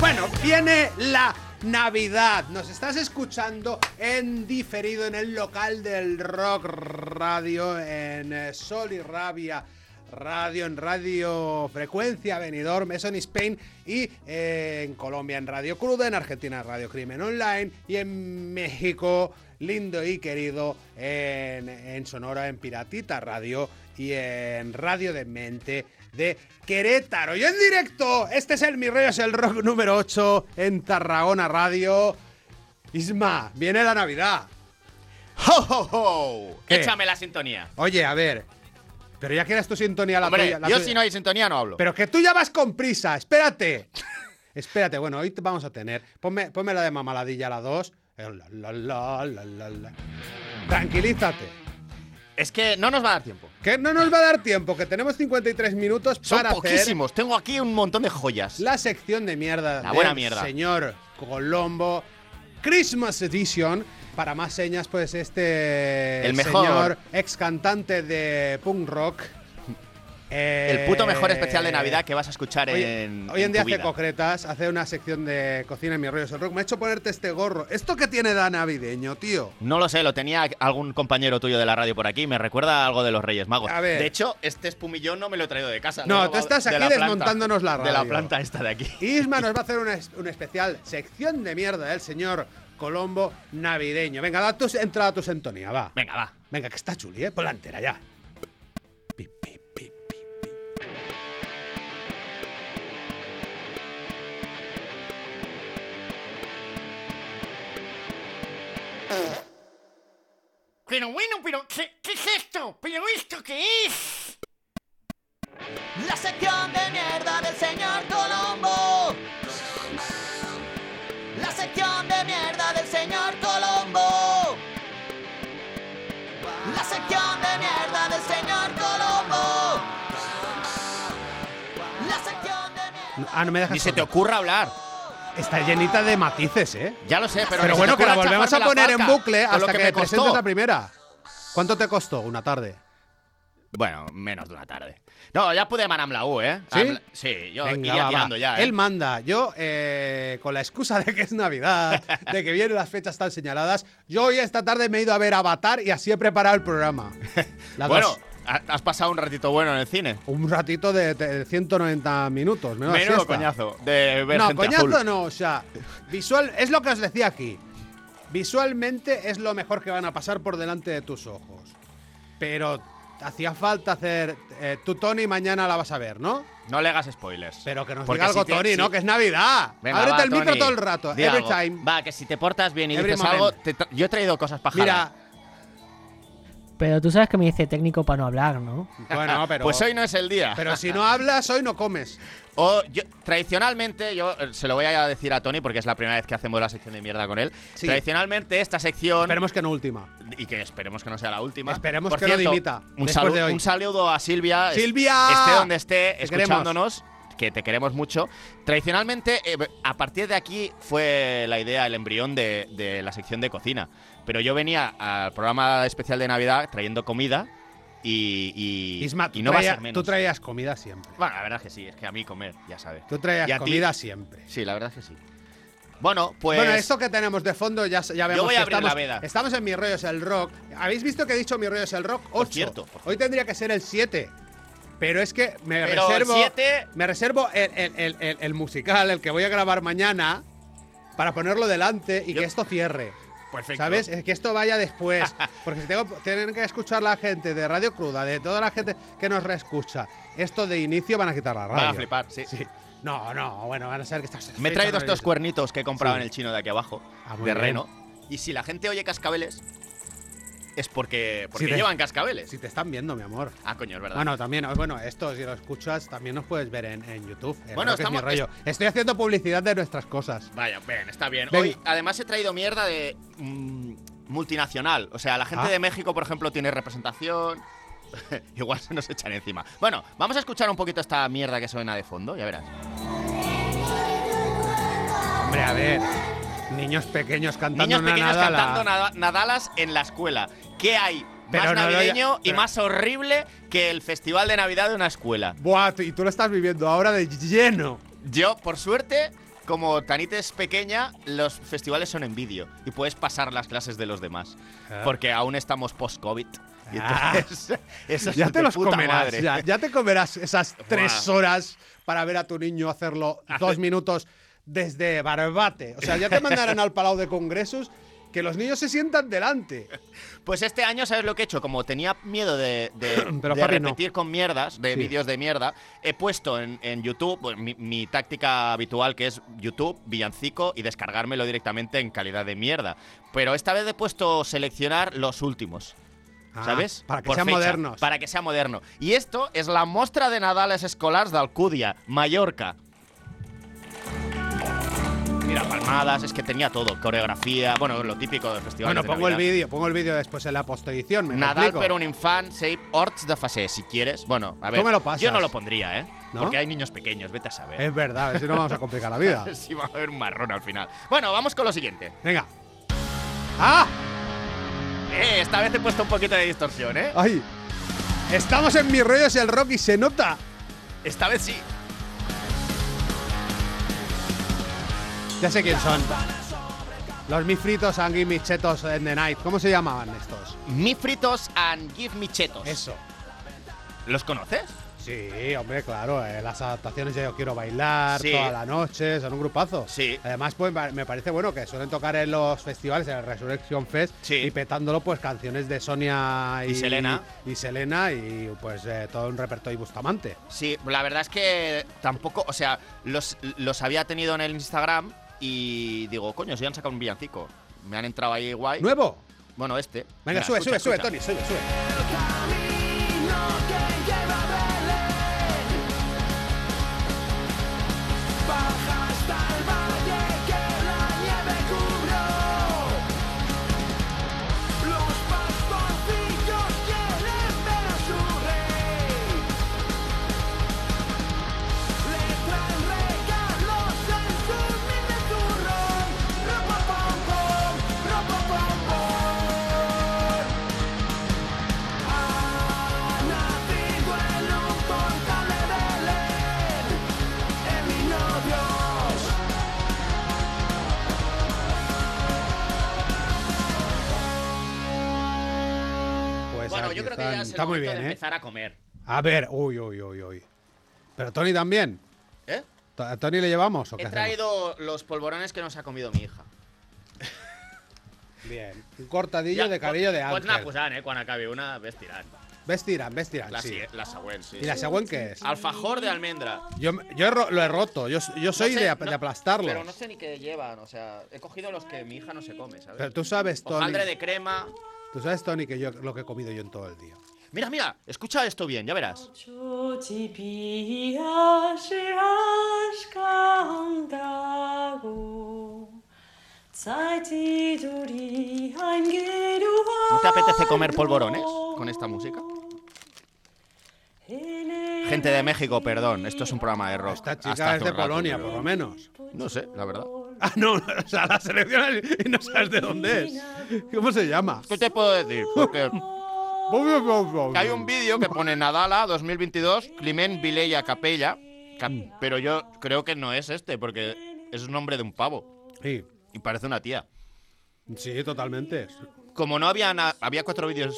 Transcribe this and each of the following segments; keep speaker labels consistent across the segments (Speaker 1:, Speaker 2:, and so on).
Speaker 1: Bueno, viene la Navidad. Nos estás escuchando en diferido en el local del Rock Radio, en eh, Sol y Rabia. Radio en Radio Frecuencia, Benidorm, eso en Spain y eh, en Colombia en Radio Cruda, en Argentina en Radio Crimen Online y en México, lindo y querido, en, en Sonora, en Piratita Radio y en Radio de Mente de Querétaro. Y en directo, este es el Mi Rollo es el Rock número 8 en Tarragona Radio. Isma, viene la Navidad.
Speaker 2: ¡Ho, ho, ho!
Speaker 1: ¿Qué?
Speaker 3: Échame la sintonía.
Speaker 1: Oye, a ver. Pero ya quieras tu sintonía la
Speaker 2: Hombre,
Speaker 1: tuya, la
Speaker 2: yo
Speaker 1: tuya.
Speaker 2: si no hay sintonía no hablo.
Speaker 1: Pero que tú ya vas con prisa, espérate. espérate, bueno, hoy te vamos a tener. Ponme, ponme la de mamaladilla, la 2. Tranquilízate.
Speaker 2: es que no nos va a dar tiempo.
Speaker 1: Que no nos va a dar tiempo, que tenemos 53 minutos
Speaker 2: Son
Speaker 1: para hacer
Speaker 2: poquísimos. Tengo aquí un montón de joyas.
Speaker 1: la sección de mierda
Speaker 2: La
Speaker 1: del
Speaker 2: buena mierda.
Speaker 1: señor Colombo Christmas Edition. Para más señas, pues este
Speaker 2: El mejor.
Speaker 1: señor ex cantante de punk rock.
Speaker 2: El puto mejor especial de Navidad
Speaker 1: que
Speaker 2: que vas a escuchar
Speaker 1: Eh, Hoy,
Speaker 2: en.
Speaker 1: hoy en
Speaker 2: tu
Speaker 1: día hace
Speaker 2: vida.
Speaker 1: concretas, hace una sección de cocina en mi rollo es el rock. Me ha hecho ponerte este gorro. ¿Esto que tiene da navideño, tío?
Speaker 2: No lo sé, lo tenía algún compañero tuyo de la radio por aquí. Me recuerda algo de los Reyes Magos.
Speaker 1: A ver.
Speaker 2: De hecho, este espumillón no me lo he traído de casa.
Speaker 1: No,
Speaker 2: lo he
Speaker 1: tú
Speaker 2: robado
Speaker 1: estás
Speaker 2: de
Speaker 1: aquí
Speaker 2: planta.
Speaker 1: desmontándonos la
Speaker 2: De la
Speaker 1: radio.
Speaker 2: planta esta de aquí.
Speaker 1: Isma nos va a hacer una es- un especial sección de mierda del señor Colombo navideño. Venga, da tu, entra a tu sintonía, va.
Speaker 2: Venga, va.
Speaker 1: Venga, que está chuli, ¿eh? Por la entera ya. Pi, pi, pi, pi.
Speaker 4: Pero bueno, pero ¿qué, qué es esto? ¿Pero esto qué es?
Speaker 5: La sección de mierda del señor Colombo. La sección de mierda del señor Colombo. La sección de mierda del señor Colombo. La sección de mierda.
Speaker 1: Ah, no me dejas.
Speaker 2: Ni se te
Speaker 1: solo.
Speaker 2: ocurra hablar.
Speaker 1: Está llenita de matices, ¿eh?
Speaker 2: Ya lo sé, pero.
Speaker 1: Pero
Speaker 2: ni se
Speaker 1: bueno,
Speaker 2: te
Speaker 1: que la
Speaker 2: ocurra
Speaker 1: volvemos a
Speaker 2: chafarme la
Speaker 1: poner en
Speaker 2: vaca,
Speaker 1: bucle
Speaker 2: con lo
Speaker 1: hasta que,
Speaker 2: me costó.
Speaker 1: presentes la primera. ¿Cuánto te costó una tarde?
Speaker 2: Bueno, menos de una tarde. No, ya pude Manam la U, ¿eh?
Speaker 1: ¿Sí?
Speaker 2: Am- Sí, yo
Speaker 1: Venga,
Speaker 2: iría
Speaker 1: va, va.
Speaker 2: tirando ya. ¿eh?
Speaker 1: Él manda. Yo, eh, con la excusa de que es Navidad, de que vienen las fechas tan señaladas, yo hoy esta tarde me he ido a ver Avatar y así he preparado el programa. La
Speaker 2: bueno,
Speaker 1: dos.
Speaker 2: ha- has pasado un ratito bueno en el cine.
Speaker 1: un ratito de, de 190 minutos. Menuda
Speaker 2: Menudo
Speaker 1: siesta.
Speaker 2: coñazo de ver
Speaker 1: No,
Speaker 2: gente
Speaker 1: coñazo
Speaker 2: azul.
Speaker 1: no. O sea, visual, es lo que os decía aquí. Visualmente es lo mejor que van a pasar por delante de tus ojos. Pero hacía falta hacer. eh, tú, Tony, mañana la vas a ver, ¿no?
Speaker 2: No le hagas spoilers.
Speaker 1: Pero que nos
Speaker 2: Porque
Speaker 1: diga
Speaker 2: si
Speaker 1: algo,
Speaker 2: te-
Speaker 1: Tony,
Speaker 2: si-
Speaker 1: ¿no? Que es Navidad.
Speaker 2: Venga,
Speaker 1: Ábrete
Speaker 2: va,
Speaker 1: el micro
Speaker 2: Tony,
Speaker 1: todo el rato.
Speaker 2: di
Speaker 1: Every
Speaker 2: algo.
Speaker 1: time.
Speaker 2: Va, que si te portas bien y
Speaker 1: Every
Speaker 2: dices
Speaker 1: moment.
Speaker 2: algo, te tra- yo he traído cosas pajadas.
Speaker 1: Mira.
Speaker 6: Pero tú sabes que me dice técnico para no hablar, ¿no?
Speaker 1: Bueno, pero.
Speaker 2: Pues hoy no es el día.
Speaker 1: Pero si no hablas, hoy no comes.
Speaker 2: O yo- tradicionalmente, yo eh, se lo voy a decir a Tony porque es la primera vez que hacemos la sección de mierda con él.
Speaker 1: Sí.
Speaker 2: Tradicionalmente, esta sección.
Speaker 1: Esperemos que no última.
Speaker 2: y que esperemos que no sea la última.
Speaker 1: Esperemos
Speaker 2: Por
Speaker 1: que no
Speaker 2: cierto,
Speaker 1: dimita
Speaker 2: Un,
Speaker 1: después
Speaker 2: salu-
Speaker 1: de hoy.
Speaker 2: un saludo a Silvia. es-
Speaker 1: ¡Silvia!
Speaker 2: Esté Este donde esté,
Speaker 1: Ah, Te queremos.
Speaker 2: escuchándonos. Que te queremos mucho. Tradicionalmente, eh, a partir de aquí fue la idea, el embrión de, de la sección de cocina. Pero yo venía al programa especial de Navidad trayendo comida y, y,
Speaker 1: Isma, tú,
Speaker 2: y no va a
Speaker 1: traía-
Speaker 2: ser menos.
Speaker 1: tú traías comida siempre.
Speaker 2: bueno, la verdad es que sí, es que a mí comer, ya sabes.
Speaker 1: Tú
Speaker 2: ¿Y
Speaker 1: traías
Speaker 2: a ti?
Speaker 1: comida siempre.
Speaker 2: Sí, la verdad es que sí. Bueno, pues.
Speaker 1: bueno, esto que tenemos de fondo ya, ya vemos
Speaker 2: voy
Speaker 1: que
Speaker 2: a abrir
Speaker 1: estamos,
Speaker 2: la veda.
Speaker 1: estamos en Mi Rollo es el Rock. ¿Habéis visto que he dicho Mi Rollo es el Rock 8?
Speaker 2: cierto, por cierto.
Speaker 1: Hoy tendría que ser el 7. Pero es que me
Speaker 2: Pero el
Speaker 1: reservo,
Speaker 2: siete-
Speaker 1: me reservo el, el- el- el- el musical, el que voy a grabar mañana, para ponerlo delante y
Speaker 2: Yo-
Speaker 1: que esto cierre.
Speaker 2: Perfecto.
Speaker 1: ¿Sabes? Es que esto vaya después. Porque si tengo, tienen que escuchar la gente de Radio Cruda, de toda la gente que nos reescucha, esto de inicio van a quitar la radio.
Speaker 2: Van a flipar, sí.
Speaker 1: Sí. No, no, bueno, van a ser que estás.
Speaker 2: Me he traído
Speaker 1: estás-
Speaker 2: estos cuernitos que he comprado
Speaker 1: Sí.
Speaker 2: en el chino de aquí abajo,
Speaker 1: Ah, muy
Speaker 2: de
Speaker 1: bien.
Speaker 2: reno. Y si la gente oye cascabeles, es porque, porque
Speaker 1: Si te-
Speaker 2: llevan cascabeles.
Speaker 1: Si te están viendo, mi amor.
Speaker 2: Ah, coño, es verdad.
Speaker 1: Bueno, también, eh, bueno, esto si lo escuchas también nos puedes ver en, en YouTube. en
Speaker 2: Bueno,
Speaker 1: Rock es mi
Speaker 2: estamos-
Speaker 1: rollo. Estoy haciendo publicidad de nuestras cosas.
Speaker 2: Vaya, bien, está bien.
Speaker 1: Venga.
Speaker 2: Hoy, además, he traído mierda de mm, multinacional. O sea, la gente
Speaker 1: Ah.
Speaker 2: de México, por ejemplo, tiene representación. Igual se nos echan encima. Bueno, vamos a escuchar un poquito esta mierda que suena de fondo, ya verás.
Speaker 1: Hombre, a ver, niños pequeños cantando
Speaker 2: Niños
Speaker 1: una
Speaker 2: pequeños
Speaker 1: nada, la-
Speaker 2: cantando nada- nadalas en la escuela. ¿Qué hay
Speaker 1: Pero
Speaker 2: más
Speaker 1: no lo ya-
Speaker 2: navideño y
Speaker 1: pero-
Speaker 2: más horrible que el festival de Navidad de una escuela?
Speaker 1: Buah, tú- y tú lo estás viviendo ahora de lleno.
Speaker 2: Yo, por suerte, como Tanite es pequeña, los festivales son en vídeo y puedes pasar las clases de los demás.
Speaker 1: Ah.
Speaker 2: Porque aún estamos post-COVID. Y
Speaker 1: Ah.
Speaker 2: entonces, eso es
Speaker 1: Ya
Speaker 2: de
Speaker 1: te los
Speaker 2: puta
Speaker 1: comerás,
Speaker 2: madre.
Speaker 1: ya, ya te comerás esas tres horas para ver a tu niño hacerlo
Speaker 2: Ah.
Speaker 1: dos minutos desde Barbate. O sea, ya te mandarán al Palau de Congresos que los niños se sientan delante.
Speaker 2: Pues este año, ¿sabes lo que he hecho? Como tenía miedo de, de-
Speaker 1: Pero,
Speaker 2: de
Speaker 1: papi, no.
Speaker 2: repetir con mierdas, de
Speaker 1: Sí.
Speaker 2: vídeos de mierda, he puesto en, en YouTube pues, mi, mi táctica habitual, que es YouTube, villancico y descargármelo directamente en calidad de mierda. Pero esta vez he puesto seleccionar los últimos.
Speaker 1: Ah,
Speaker 2: ¿Sabes?
Speaker 1: Para que
Speaker 2: Por
Speaker 1: sean
Speaker 2: fecha,
Speaker 1: modernos.
Speaker 2: Para que sea moderno. I esto és la mostra de Nadales escolars d'Alcúdia, Mallorca. Mira, palmadas, es que tenía todo, coreografía, bueno, lo típico del festival.
Speaker 1: Bueno, pongo el vídeo, pongo el vídeo después en la postedición. ¿me
Speaker 2: Nadal
Speaker 1: explico?
Speaker 2: per un infant, save horts de facer, si quieres. Bueno, a ver.
Speaker 1: me lo pasas?
Speaker 2: Yo no lo pondría, ¿eh?
Speaker 1: ¿No?
Speaker 2: Porque hay niños pequeños, vete a saber.
Speaker 1: Es verdad, a ver si no vamos a complicar la vida.
Speaker 2: si va a haber un marrón al final. Bueno, vamos con lo siguiente.
Speaker 1: Venga. ¡Ah!
Speaker 2: Eh, esta vez he puesto un poquito de distorsión, ¿eh?
Speaker 1: ¡Ay! Estamos en mis rollos el rock y se nota.
Speaker 2: Esta vez sí.
Speaker 1: Ya sé quién son. Los mis fritos and give me chetos en the night. ¿Cómo se llamaban estos?
Speaker 2: Mi fritos and give me chetos.
Speaker 1: Eso.
Speaker 2: ¿Los conoces?
Speaker 1: Sí, hombre, claro. eh, las adaptaciones de Yo Quiero Bailar,
Speaker 2: Sí.
Speaker 1: toda la noche, son un grupazo.
Speaker 2: Sí.
Speaker 1: Además, pues pa- me parece bueno que suelen tocar en los festivales, en el Resurrection Fest,
Speaker 2: Sí.
Speaker 1: y petándolo, pues canciones de Sonia
Speaker 2: Y Selena.
Speaker 1: Y Selena, y pues eh, todo un repertorio y Bustamante.
Speaker 2: Sí, la verdad es que tampoco, o sea, los, los había tenido en el Instagram y digo, coño, si han sacado un villancico. Me han entrado ahí guay.
Speaker 1: ¡Nuevo!
Speaker 2: Bueno, este.
Speaker 1: Venga, sube, sube, sube, Tony, sube, sube. Pues
Speaker 2: Bueno,
Speaker 1: aquí
Speaker 2: yo creo que
Speaker 1: están.
Speaker 2: ya es el
Speaker 1: Está muy
Speaker 2: momento
Speaker 1: bien,
Speaker 2: de
Speaker 1: ¿eh?
Speaker 2: empezar a comer.
Speaker 1: A ver, uy, uy, uy, uy. Pero Tony también.
Speaker 2: ¿Eh?
Speaker 1: ¿To- ¿A Tony le llevamos o qué
Speaker 2: He
Speaker 1: hacemos?
Speaker 2: traído los polvorones que nos ha comido mi hija.
Speaker 1: Bien. Un cortadillo de cabello de
Speaker 2: Pues una
Speaker 1: ángel.
Speaker 2: posant, eh, quan acabi una, ves tirant.
Speaker 1: Ves tiran, ves tiran,
Speaker 2: La,
Speaker 1: Ah, sí.
Speaker 2: sí. la següent, sí.
Speaker 1: ¿Y la següent qué es?
Speaker 2: Alfajor de almendra.
Speaker 1: Yo, yo he ro- lo he roto, yo, yo soy
Speaker 2: Ah. No sé,
Speaker 1: de, ap-
Speaker 2: no-
Speaker 1: de aplastarlos.
Speaker 2: Pero no sé ni qué llevan, o sea, he cogido los que mi hija no se come, ¿sabes?
Speaker 1: Pero tú sabes, Tony.
Speaker 2: Hojaldre de crema.
Speaker 1: Tú sabes, Tony, que yo lo que he comido yo en todo el día.
Speaker 2: Mira, mira, escucha esto bien, ya verás.
Speaker 3: ¿No
Speaker 2: ¿No te apetece comer polvorones con esta música? Gente de México, perdón, esto es un programa de rock.
Speaker 1: Esta
Speaker 2: Hasta
Speaker 1: chica es
Speaker 2: hace
Speaker 1: de
Speaker 2: un rato,
Speaker 1: Polonia,
Speaker 2: pero-
Speaker 1: por lo menos.
Speaker 2: No sé, la verdad.
Speaker 1: Ah, no, o sea, la seleccionas y no sabes de dónde es. ¿Cómo se llama?
Speaker 2: ¿Qué te puedo decir? Porque hay
Speaker 1: Hay
Speaker 2: un vídeo Pues, que pone Nadala 2022, Climent Vilella Capella, Cap- pero yo creo que no es este, porque es un nombre de un pavo
Speaker 1: Sí,
Speaker 2: y parece una tía.
Speaker 1: sí, totalmente.
Speaker 2: Como no había na- había cuatro vídeos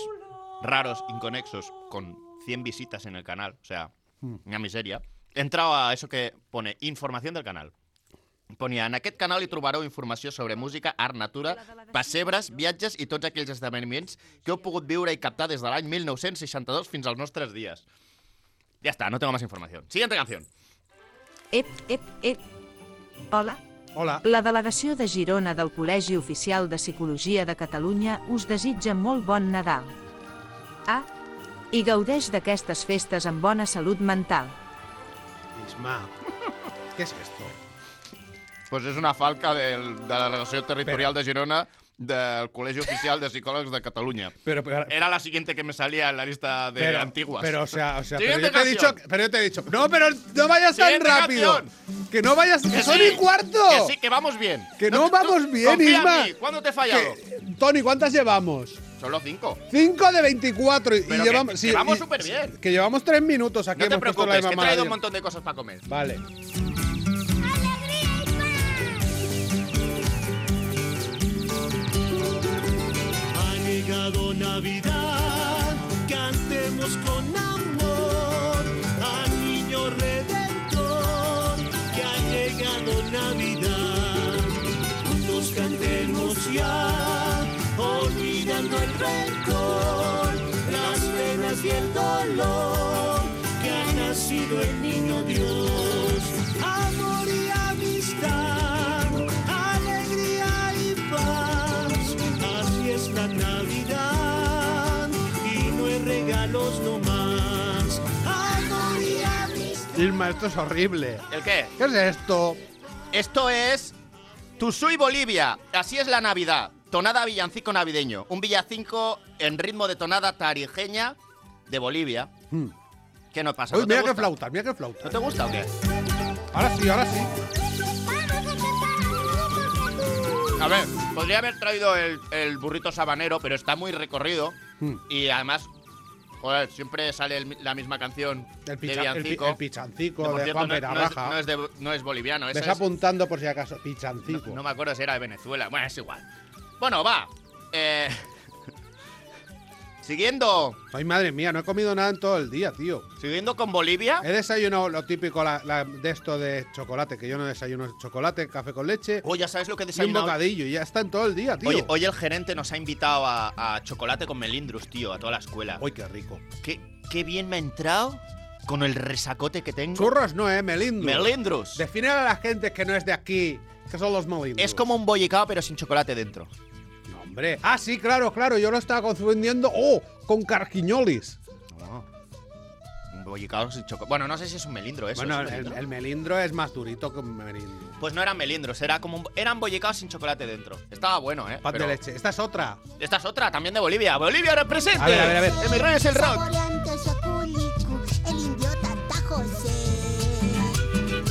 Speaker 2: raros, inconexos, con 100 visitas en el canal, o sea, una miseria, he entrado a eso que pone información del canal. Ponia, en aquest canal hi trobareu informació sobre música, art, natura, pessebres, viatges i tots aquells esdeveniments que heu pogut viure i captar des de l'any 1962 fins als nostres dies. Ya está, no tengo más información. Siguiente canción.
Speaker 7: Ep, ep, ep. Hola.
Speaker 1: Hola.
Speaker 7: La delegació de Girona del Col·legi Oficial de Psicologia de Catalunya us desitja molt bon Nadal. Ah, i gaudeix d'aquestes festes amb bona salut mental.
Speaker 1: Isma. ¿Qué es esto?
Speaker 2: Pues és una falca del, de la Delegació Territorial de Girona del Col·legi Oficial de Psicòlegs Eh, de Catalunya.
Speaker 1: Pero, pero,
Speaker 2: Era la siguiente que me salía en la lista de
Speaker 1: pero-
Speaker 2: antiguas.
Speaker 1: Pero, o sea, o sea, pero
Speaker 2: Siguiente
Speaker 1: yo, te he dicho,
Speaker 2: canción.
Speaker 1: pero yo te he dicho. No, pero no vayas tan
Speaker 2: Siguiente
Speaker 1: rápido.
Speaker 2: canción.
Speaker 1: Que no vayas.
Speaker 2: Que
Speaker 1: ¡Son
Speaker 2: sí,
Speaker 1: y cuarto!
Speaker 2: Que sí, que vamos bien.
Speaker 1: Que no
Speaker 2: tú-
Speaker 1: vamos bien,
Speaker 2: confía en
Speaker 1: Isma.
Speaker 2: mí. ¿Cuándo te he fallado?
Speaker 1: Que- Tony, ¿cuántas llevamos?
Speaker 2: Solo cinco.
Speaker 1: 5 de 24 y, y
Speaker 2: Pero que-
Speaker 1: llevamos.
Speaker 2: que vamos
Speaker 1: y-
Speaker 2: superbién.
Speaker 1: Que llevamos 3 minutos aquí.
Speaker 2: No te
Speaker 1: hemos puesto la
Speaker 2: preocupes, que he
Speaker 1: misma
Speaker 2: traído un
Speaker 1: maravilla.
Speaker 2: montón de cosas para comer.
Speaker 1: Vale.
Speaker 8: ¡Alegría y paz!
Speaker 3: llegado Navidad, cantemos con amor al niño redentor, que ha llegado Navidad. Juntos cantemos ya, olvidando el rencor, las penas y el dolor, que ha nacido el niño Dios. Amor y amistad, alegría y paz, así es la Navidad, y no hay regalos no más. Amor y amistad.
Speaker 1: Irma, esto es horrible.
Speaker 2: ¿El qué?
Speaker 1: ¿Qué es esto?
Speaker 2: Esto es Tusuy Bolivia. Así es la Navidad. Tonada villancico navideño. Un villancico en ritmo de tonada tarijeña de Bolivia.
Speaker 1: Mm.
Speaker 2: ¿Qué nos pasa?
Speaker 1: Uy,
Speaker 2: ¿No te
Speaker 1: mira qué
Speaker 2: gusta?
Speaker 1: flauta, mira qué flauta.
Speaker 2: ¿No te gusta o qué?
Speaker 1: Ahora sí, ahora sí.
Speaker 2: A ver, podría haber traído el, el burrito sabanero, pero está muy recorrido.
Speaker 1: Mm.
Speaker 2: Y además, joder, siempre sale el mi- la misma canción
Speaker 1: El, picha-
Speaker 2: de
Speaker 1: el pi-
Speaker 2: villancico.
Speaker 1: el
Speaker 2: que,
Speaker 1: pichancico
Speaker 2: por
Speaker 1: de
Speaker 2: cierto,
Speaker 1: Juan
Speaker 2: no- no, es,
Speaker 1: Perabaja.
Speaker 2: no es de- no es boliviano. ese
Speaker 1: Ves
Speaker 2: es-
Speaker 1: apuntando por si acaso,
Speaker 2: no,
Speaker 1: pichancico.
Speaker 2: no me acuerdo si era de Venezuela. Bueno, es igual. Bueno, va. Eh, siguiendo,
Speaker 1: Ay, madre mía, no he comido nada en todo el día, tío.
Speaker 2: siguiendo con Bolivia.
Speaker 1: He desayunado lo típico la- la- de esto de chocolate, que yo no desayuno chocolate, café con leche
Speaker 2: Hoy Oh, ya sabes lo que he
Speaker 1: y un
Speaker 2: desayunado.
Speaker 1: bocadillo. Y ya está en todo el día, tío.
Speaker 2: Hoy, hoy el gerente nos ha invitado a, a chocolate con melindrus, tío, a toda la escuela.
Speaker 1: Uy, qué rico.
Speaker 2: Qué, qué bien me ha entrado con el resacote que tengo.
Speaker 1: Churros no, eh, melindros.
Speaker 2: Melindrus.
Speaker 1: Define a la gente que no es de aquí, que son los molindros.
Speaker 2: Es como un bollicao, pero sin chocolate dentro.
Speaker 1: No, hombre. Ah, sí, claro, claro. Yo lo estaba confundiendo. ¡Oh! Con carquiñolis.
Speaker 2: Un bollicao sin chocolate. Bueno, no sé si es un melindro eso.
Speaker 1: bueno,
Speaker 2: ¿es un
Speaker 1: el,
Speaker 2: melindro?
Speaker 1: el melindro es más durito que un melindro.
Speaker 2: Pues no eran melindros, era como un- eran bollicaos sin chocolate dentro. Estaba bueno, ¿eh?
Speaker 1: Pan
Speaker 2: pero-
Speaker 1: de leche. Esta es otra.
Speaker 2: Esta es otra, también de Bolivia. ¡Bolivia represente!
Speaker 1: A ver, a ver, a ver.
Speaker 2: ¡En mi rollo es el rock!
Speaker 8: Saboreando su aculicu, el indio Tata José. Noche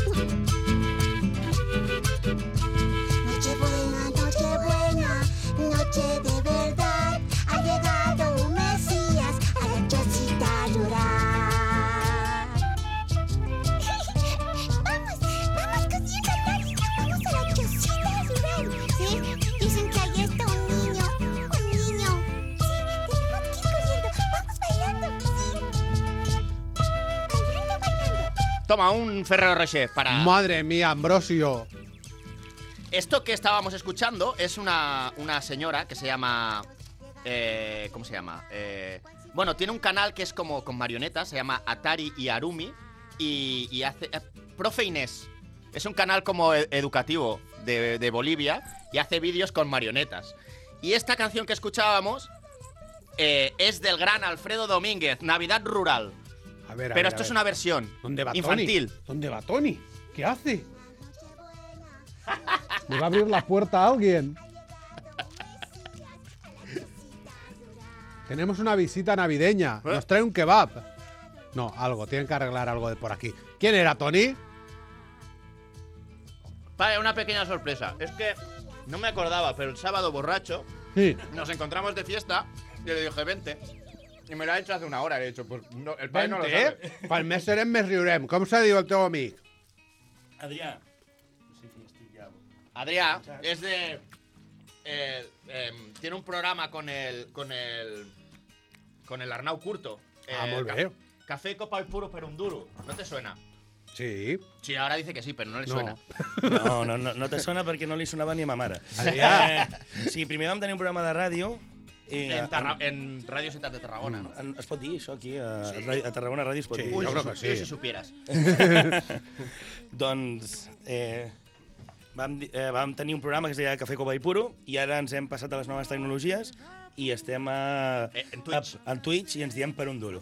Speaker 8: buena, noche buena, noche de verdad. Ha llegado un Mesías a la chocita rural. Vamos, vamos, cosita Loli, vamos a la chocita rural. Sí, dicen que ahí está un niño, un niño. Sí, tenemos que ir corriendo, vamos bailando, sí. Bailando, bailando.
Speaker 2: Toma, un Ferrero Rocher para...
Speaker 1: Madre mía, Ambrosio.
Speaker 2: Esto que estábamos escuchando es una, una señora que se llama... eh, ¿Cómo se llama? Eh, bueno, tiene un canal que es como con marionetas, se llama Atari y Arumi y, y hace... eh, Profe Inés. Es un canal como e- educativo de, de Bolivia y hace vídeos con marionetas. Y esta canción que escuchábamos eh, es del gran Alfredo Domínguez, Navidad Rural.
Speaker 1: A ver, a ver, a
Speaker 2: Pero esto es
Speaker 1: ver.
Speaker 2: una versión
Speaker 1: ¿Dónde va
Speaker 2: infantil.
Speaker 1: Tony? ¿Dónde va Tony? ¿Qué hace? Me va a abrir la puerta a alguien. Tenemos una visita navideña.
Speaker 2: ¿Eh?
Speaker 1: Nos trae un kebab. No, algo. Tienen que arreglar algo de por aquí. ¿Quién era Tony?
Speaker 2: Vale, una pequeña sorpresa. Es que no me acordaba, pero el sábado borracho
Speaker 1: Sí.
Speaker 2: nos encontramos de fiesta y le dije, vente. Y me lo ha hecho hace una hora, le he dicho, pues no, el padre no lo
Speaker 1: Vente,
Speaker 2: sabe.
Speaker 1: eh? Pal mes serem, mes riurem. Com se diu el teu amic?
Speaker 9: Adrià. Sí, sí, estic ja.
Speaker 2: Adrià es de... eh, em, tiene un programa con el... con el... con el Arnau Curto.
Speaker 1: Ah,
Speaker 2: Eh,
Speaker 1: molt
Speaker 2: ca-
Speaker 1: bé.
Speaker 2: Café, copa y puro, pero un duro. ¿No te suena?
Speaker 1: Sí.
Speaker 2: Sí, ahora dice que sí, pero no le
Speaker 1: No.
Speaker 2: suena.
Speaker 9: No, no, no, no te sona perquè no li sonava ni a ma mare.
Speaker 1: Adrià.
Speaker 9: Eh, sí, primer vam tenir un programa de ràdio... Eh,
Speaker 2: En, Tarra- en Radio Ciudad de Tarragona.
Speaker 9: en, en, es pot dir això aquí? A, sí. a Tarragona Ràdio es pot
Speaker 1: Sí.
Speaker 9: dir?
Speaker 1: Mm. Yo
Speaker 2: Uy,
Speaker 1: creo
Speaker 2: si
Speaker 1: que
Speaker 2: su- uy,
Speaker 1: sí.
Speaker 2: si supieras.
Speaker 9: Doncs eh, vam, di- eh, vam tenir un programa que es deia Cafè Copa i Puro i ara ens hem passat a les noves tecnologies i estem a,
Speaker 2: Eh, en Twitch.
Speaker 9: A, en Twitch i ens diem per un duro.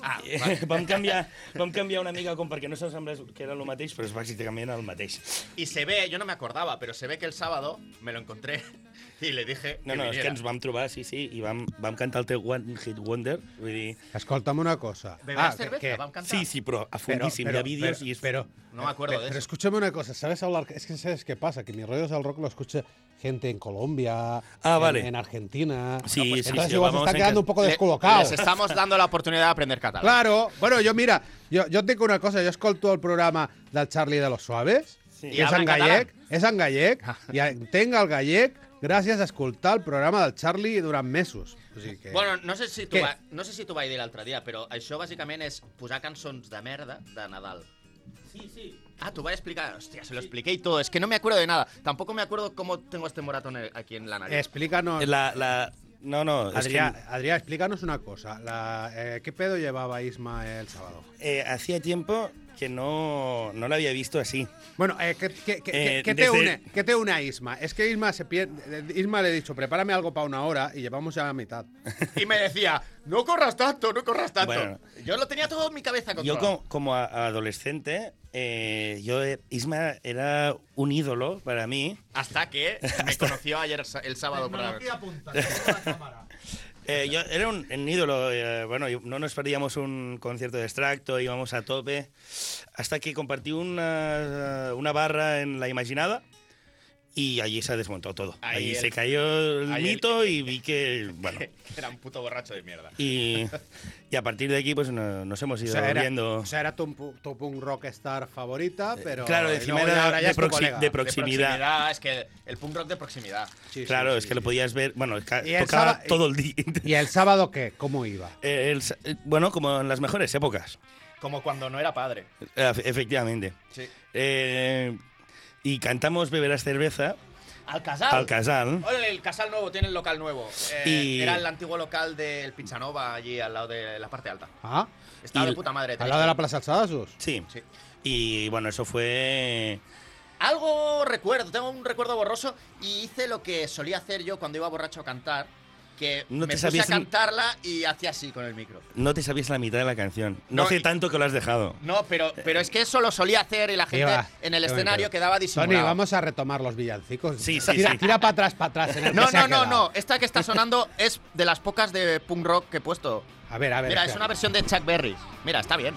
Speaker 2: Ah,
Speaker 9: Eh,
Speaker 2: vale.
Speaker 9: vam, canviar, vam canviar una mica com perquè no s'assemblés que era el mateix, però és bàsicament el mateix.
Speaker 2: Y se ve, yo no me acordaba, pero se ve que el sábado me lo encontré y le dije.
Speaker 9: No,
Speaker 2: que
Speaker 9: no, és que
Speaker 2: viniera.
Speaker 9: ens vam trobar, sí, sí, i vam, vam cantar el teu One Hit Wonder, vull dir...
Speaker 1: Escolta'm una cosa. Ah,
Speaker 2: ¿Beberás
Speaker 1: que-
Speaker 2: cerveza?
Speaker 1: que-
Speaker 2: Vamos a cantar.
Speaker 9: Sí, sí, però a fondíssim, hi ha vídeos i és...
Speaker 1: Pero,
Speaker 2: No me acuerdo
Speaker 1: pero,
Speaker 2: de
Speaker 1: pero
Speaker 2: eso.
Speaker 1: escúchame una cosa, ¿sabes hablar? Es que sabes qué pasa, que mis rollos al rock lo escucha gente en Colombia,
Speaker 9: Ah,
Speaker 1: en,
Speaker 9: vale.
Speaker 1: en Argentina. pues,
Speaker 9: Sí, sí,
Speaker 1: entonces
Speaker 9: sí,
Speaker 1: igual se
Speaker 9: vamos
Speaker 1: está
Speaker 9: en
Speaker 1: quedando
Speaker 9: que-
Speaker 1: un poco
Speaker 2: Le-
Speaker 1: descolocado.
Speaker 2: Les estamos dando la oportunidad de aprender catalán.
Speaker 1: Claro, bueno, yo mira, yo, yo tengo una cosa, yo escolto el programa del Charlie de los Suaves,
Speaker 9: Sí.
Speaker 1: que és
Speaker 2: I
Speaker 1: en
Speaker 2: habla en Ah.
Speaker 1: gallec, és en gallec, i entenc el gallec gràcies a escoltar el programa del Charlie durant mesos.
Speaker 10: O sigui que...
Speaker 2: Bueno, no sé si tu,
Speaker 10: Què?
Speaker 2: va, no sé si tu vaig dir l'altre dia, però això bàsicament és posar cançons de merda de Nadal.
Speaker 9: Sí, sí.
Speaker 2: Ah, tú vas a explicar. Hostia, se lo expliqué y todo. Es que no me acuerdo de nada. Tampoco me acuerdo cómo tengo este moratón en- aquí en la nariz.
Speaker 10: Explícanos.
Speaker 9: La, la... No, no, es
Speaker 10: Adrià,
Speaker 9: que
Speaker 10: Adrià, explícanos una cosa. La, eh, ¿Qué pedo llevaba Isma el sábado?
Speaker 9: eh, hacía tiempo que no, no la había visto así.
Speaker 10: Bueno, eh, ¿qué, qué- qué-
Speaker 9: Eh,
Speaker 10: qué- qué te
Speaker 9: desde-
Speaker 10: une, qué te une a Isma? Es que Isma se pierde. Isma le he dicho, prepárame algo para una hora y llevamos ya la mitad.
Speaker 2: Y me decía, no corras tanto, no corras tanto.
Speaker 9: Bueno.
Speaker 2: Yo lo tenía todo en mi cabeza
Speaker 9: Yo
Speaker 2: controlado.
Speaker 9: como, como a- adolescente, eh, yo eh, Isma era un ídolo para mí.
Speaker 2: Hasta que me conoció ayer sa- el sábado por la noche.
Speaker 9: Eh, yo era un, un ídolo, eh, bueno, yo- no nos perdíamos un concierto de extracto, íbamos a tope, hasta que compartí una, una barra en La Imaginada y allí se desmontó todo.
Speaker 2: Ahí
Speaker 9: Allí
Speaker 2: el-
Speaker 9: se cayó el
Speaker 2: ahí el-
Speaker 9: mito y vi que, bueno,
Speaker 2: Era un puto borracho de mierda.
Speaker 9: y, y a partir de aquí pues no- nos hemos ido
Speaker 10: era,
Speaker 9: viendo... Eh,
Speaker 10: o sea, era tu, tu punk rockstar favorita, pero.
Speaker 9: claro,
Speaker 10: y
Speaker 9: encima
Speaker 10: luego ya
Speaker 9: era
Speaker 10: ahora ya
Speaker 9: de
Speaker 10: es tu
Speaker 9: proxi-
Speaker 10: colega.
Speaker 9: de pro- Proximidad.
Speaker 2: De Es que el punk rock de proximidad.
Speaker 10: Sí, sí,
Speaker 9: claro,
Speaker 10: sí,
Speaker 9: es que lo
Speaker 10: sí.
Speaker 9: podías ver, bueno, ca-
Speaker 10: Y el
Speaker 9: tocaba
Speaker 10: sábado-
Speaker 9: todo el día.
Speaker 10: ¿Y el sábado qué? ¿Cómo iba?
Speaker 9: Eh, el sa- eh, bueno, como en las mejores épocas,
Speaker 2: Como cuando no era padre.
Speaker 9: eh, efectivamente.
Speaker 2: Sí.
Speaker 9: Eh, y cantamos Beberás Cerveza
Speaker 2: Al casal.
Speaker 9: al casal.
Speaker 2: Ole, el casal nuevo, tiene el local nuevo. Eh,
Speaker 9: Y-
Speaker 2: Era el antiguo local del Pinchanova, allí al lado de la parte alta.
Speaker 10: ¿Ah?
Speaker 2: Estaba
Speaker 9: Y-
Speaker 2: de puta madre.
Speaker 10: ¿Al lado de la
Speaker 2: tenéis-
Speaker 10: Plaza Alzadasos?
Speaker 9: Sí.
Speaker 2: Sí.
Speaker 9: Y bueno, eso fue.
Speaker 2: Algo recuerdo, tengo un recuerdo borroso y hice lo que solía hacer yo cuando iba borracho a cantar, que
Speaker 9: No
Speaker 2: me
Speaker 9: te
Speaker 2: puse a
Speaker 9: sabías un-
Speaker 2: cantarla y hacía así con el micro.
Speaker 9: No te sabías la mitad de la canción. No,
Speaker 2: No,
Speaker 9: hace
Speaker 2: y-
Speaker 9: tanto que lo has dejado.
Speaker 2: No, pero, pero es que eso lo solía hacer y la gente
Speaker 10: Iba,
Speaker 2: en el
Speaker 10: qué
Speaker 2: escenario
Speaker 10: bonito.
Speaker 2: quedaba
Speaker 10: Tony,
Speaker 2: disimulada.
Speaker 10: vamos a retomar los villancicos.
Speaker 9: Sí, sí,
Speaker 10: tira,
Speaker 9: sí.
Speaker 10: tira para atrás, para atrás. en el que
Speaker 2: No,
Speaker 10: se
Speaker 2: no,
Speaker 10: ha
Speaker 2: no,
Speaker 10: quedado.
Speaker 2: no. Esta que está sonando es de las pocas de punk rock que he puesto.
Speaker 10: A ver, a ver.
Speaker 2: Mira, es
Speaker 10: espera.
Speaker 2: una versión de Chuck Berry. Mira, está bien.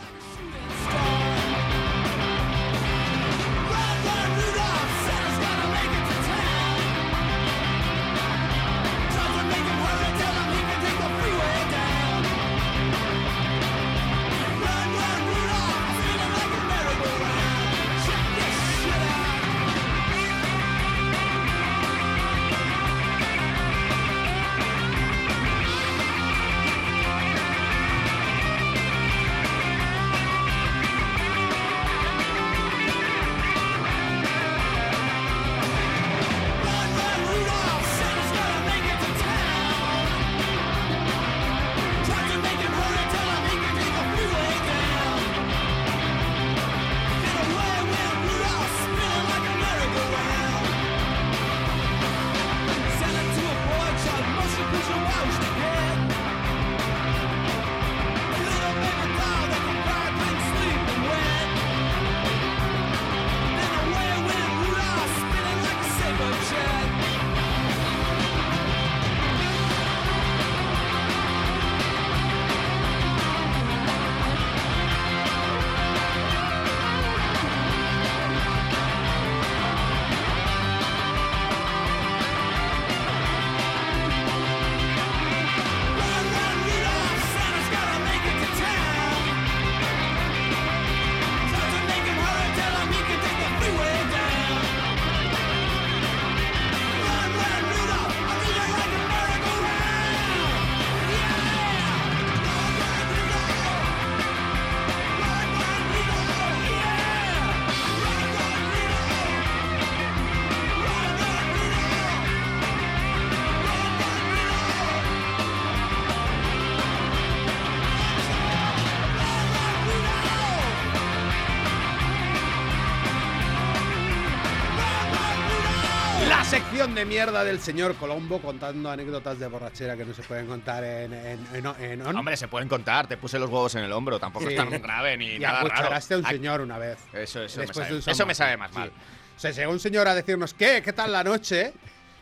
Speaker 10: La sección de mierda del señor Colombo contando anécdotas de borrachera que no se pueden contar en, en, en, en on.
Speaker 1: Hombre, se pueden contar, te puse los huevos en el hombro, tampoco
Speaker 10: ¿Mm? Sí.
Speaker 1: es tan grave ni
Speaker 10: y
Speaker 1: nada raro.
Speaker 10: acucharaste a un
Speaker 1: Ay,
Speaker 10: señor una vez.
Speaker 1: Eso, eso, me
Speaker 10: Después
Speaker 1: sabe,
Speaker 10: de un
Speaker 1: eso me sabe
Speaker 10: somazo,
Speaker 1: más
Speaker 10: sí.
Speaker 1: mal.
Speaker 10: O sea, llegó un señor a decirnos, ¿qué? ¿Qué tal la noche?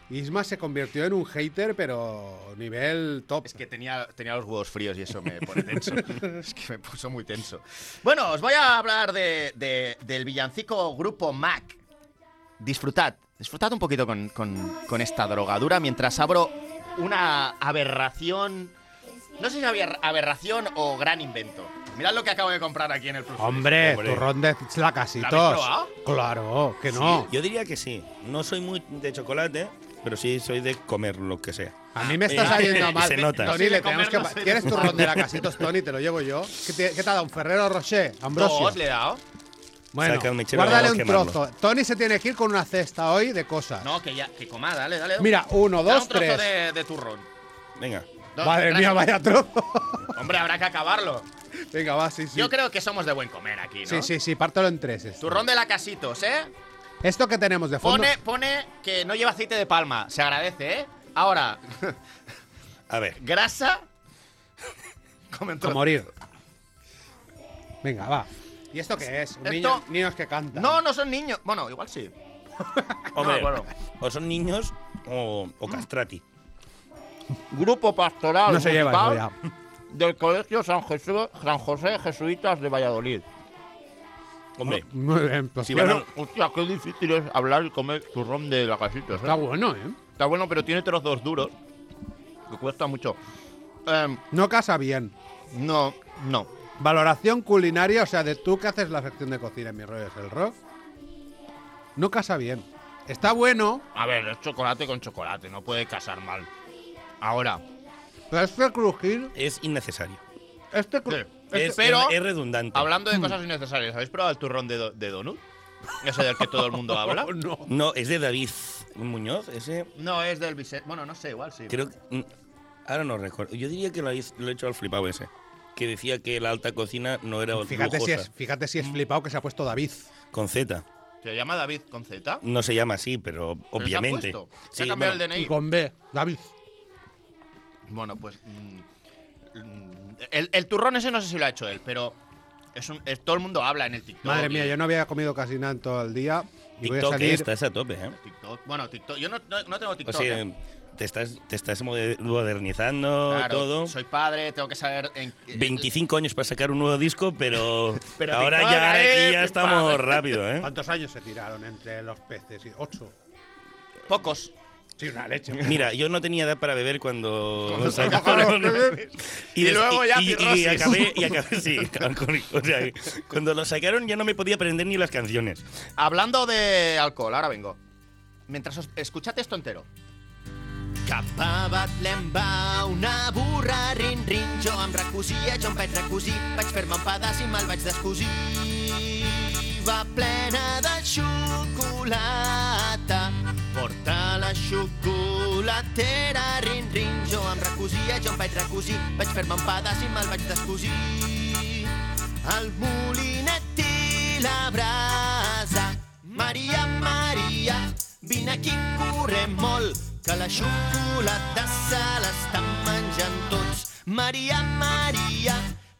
Speaker 10: Isma se convirtió en un hater, pero nivel top.
Speaker 1: Es que tenía, tenía los huevos fríos y eso me pone tenso. es que me puso muy tenso. Bueno, os voy a hablar de, de- del villancico grupo Mac. Disfrutad, disfrutad un poquito con, con- con esta drogadura mientras abro una aberración. No sé si aber- aberración o gran invento. Mirad lo que acabo de comprar aquí en el Plus.
Speaker 10: Hombre,
Speaker 9: Hombre.
Speaker 10: turrón Eh, de
Speaker 1: ¿La habéis
Speaker 10: casitos.
Speaker 1: probado?
Speaker 10: Claro, que no.
Speaker 9: Yo diría que sí. No soy muy de chocolate, pero sí soy de comer lo que sea.
Speaker 1: A mí me está saliendo mal.
Speaker 9: Se nota.
Speaker 1: Tony, le tenemos que.
Speaker 10: comernos, sí.
Speaker 1: ¿Quieres tu ronda de casitos, Tony? Te lo llevo yo. ¿Qué te, qué te ha dado? ¿Un Ferrero Rocher? Ambrosio.
Speaker 10: Dos le he dado.
Speaker 1: Bueno,
Speaker 9: Saca el mechero y
Speaker 1: guárdale
Speaker 9: vamos a
Speaker 1: un
Speaker 9: quemarlo.
Speaker 1: trozo. Tony se tiene que ir con una cesta hoy de cosas.
Speaker 10: No, que ya, que coma, dale, dale.
Speaker 1: Mira, uno,
Speaker 10: Da
Speaker 1: dos,
Speaker 10: un trozo
Speaker 1: tres.
Speaker 10: De, de turrón.
Speaker 9: Venga.
Speaker 10: Dos,
Speaker 1: Madre
Speaker 10: tres.
Speaker 1: mía, vaya trozo.
Speaker 10: Hombre, habrá que acabarlo.
Speaker 1: Venga, va, sí, sí.
Speaker 10: Yo creo que somos de buen comer aquí, ¿no?
Speaker 1: Sí, sí, sí, pártelo en tres. esto.
Speaker 10: Turrón de la casitos, ¿eh?
Speaker 1: Esto que tenemos de fondo.
Speaker 10: Pone, pone que no lleva aceite de palma. Se agradece, ¿eh? Ahora,
Speaker 9: A ver.
Speaker 10: grasa. Comentó.
Speaker 1: A morir. Venga, va. ¿Y esto qué es?
Speaker 10: Esto-
Speaker 1: Niños, niños que cantan.
Speaker 10: No, no son niños. Bueno, igual sí.
Speaker 9: Hombre,
Speaker 10: bueno.
Speaker 9: o son niños o,
Speaker 2: Mm.
Speaker 9: o castrati.
Speaker 2: Grupo Pastoral
Speaker 1: No se lleva eso
Speaker 2: musical
Speaker 1: ya.
Speaker 2: del Colegio San, Jesús, San José Jesuitas de Valladolid.
Speaker 9: Hombre,
Speaker 1: Muy bien, pues
Speaker 9: si
Speaker 1: bueno,
Speaker 9: van a-
Speaker 2: Hostia, qué difícil es hablar y comer turrón de la casita.
Speaker 1: está bueno, ¿eh?
Speaker 2: Está bueno, pero tiene trozos duros. Que cuesta mucho. Em,
Speaker 1: No casa bien.
Speaker 2: no, no.
Speaker 1: Valoración culinaria, o sea, de tú que haces la sección de cocina en mi rollo es el rock. No casa bien. Está bueno,
Speaker 2: A ver, es chocolate con chocolate, no puede casar mal. Ahora,
Speaker 1: pero este crujir.
Speaker 9: es innecesario.
Speaker 1: Este cru- este-
Speaker 9: Es,
Speaker 2: pero-
Speaker 9: es redundante.
Speaker 2: hablando de cosas innecesarias, ¿habéis probado el turrón de, do- de donut? Ese del que todo el mundo habla.
Speaker 1: no.
Speaker 9: No, es de David Muñoz, ese.
Speaker 10: No, es del Vicente. Bueno, no sé, igual sí.
Speaker 9: Creo que. mm, Ahora no recuerdo. Yo diría que lo, habéis- lo he hecho al flipado ese. Que decía que la alta cocina no era
Speaker 1: Fíjate si,
Speaker 9: lujosa.
Speaker 1: es, fíjate si es flipado que se ha puesto David.
Speaker 9: Con Z.
Speaker 2: Se llama David con Z.
Speaker 9: No se llama así, pero
Speaker 2: Pero se ha
Speaker 9: obviamente.
Speaker 2: puesto. Se ha cambiado
Speaker 9: bueno,
Speaker 2: el DNI.
Speaker 1: Y con B, David.
Speaker 2: Bueno, pues. mm, mm, el, el turrón ese no sé si lo ha hecho él, pero. Es un, es- todo el mundo habla en el TikTok.
Speaker 1: Madre mía,
Speaker 2: y
Speaker 1: yo no había comido casi nada en todo el día. Y voy a
Speaker 9: TikTok
Speaker 1: salir.
Speaker 9: estás a tope, ¿eh?
Speaker 2: TikTok. Bueno, TikTok. Yo no, no- no tengo
Speaker 9: O
Speaker 2: TikTok.
Speaker 9: sea,
Speaker 2: ¿eh?
Speaker 9: te estás, te estás moder- modernizando
Speaker 2: Claro,
Speaker 9: todo.
Speaker 2: Soy padre, tengo que saber. En, eh,
Speaker 9: 25 años para sacar un nuevo disco, pero,
Speaker 2: Pero
Speaker 9: ahora
Speaker 2: TikTok,
Speaker 9: ya,
Speaker 2: eh,
Speaker 9: aquí ya
Speaker 2: mi
Speaker 9: estamos
Speaker 2: padre.
Speaker 9: rápido, ¿eh?
Speaker 1: ¿Cuántos años se tiraron entre los peces? y- ¿Ocho?
Speaker 2: Pocos.
Speaker 1: Sí, una leche.
Speaker 9: Mira, yo no tenía edad para beber cuando
Speaker 2: Cuando
Speaker 9: sacaron-
Speaker 2: sacaron los
Speaker 9: y,
Speaker 2: Y
Speaker 9: des-
Speaker 2: luego ya
Speaker 9: y, y
Speaker 2: cirrosis.
Speaker 9: acabé, y acabé sí, con- o sea, cuando lo sacaron ya no me podía aprender ni las canciones.
Speaker 2: Hablando de alcohol, ahora vengo. Mientras os, escuchad esto entero.
Speaker 5: Capavat l'em va una burra, rin, rin, jo em recosia, jo em vaig recosir, vaig fer-me un pedaç i me'l vaig descosir. Va plena de xocolata, porta la xocolatera, rin, rin, jo em recosia, jo em vaig recosir, vaig fer-me un pedaç i me'l vaig descosir. El molinet i la brasa, Maria, Maria, vine aquí, correm molt, que la xocolata se l'estan menjant tots. Maria, Maria,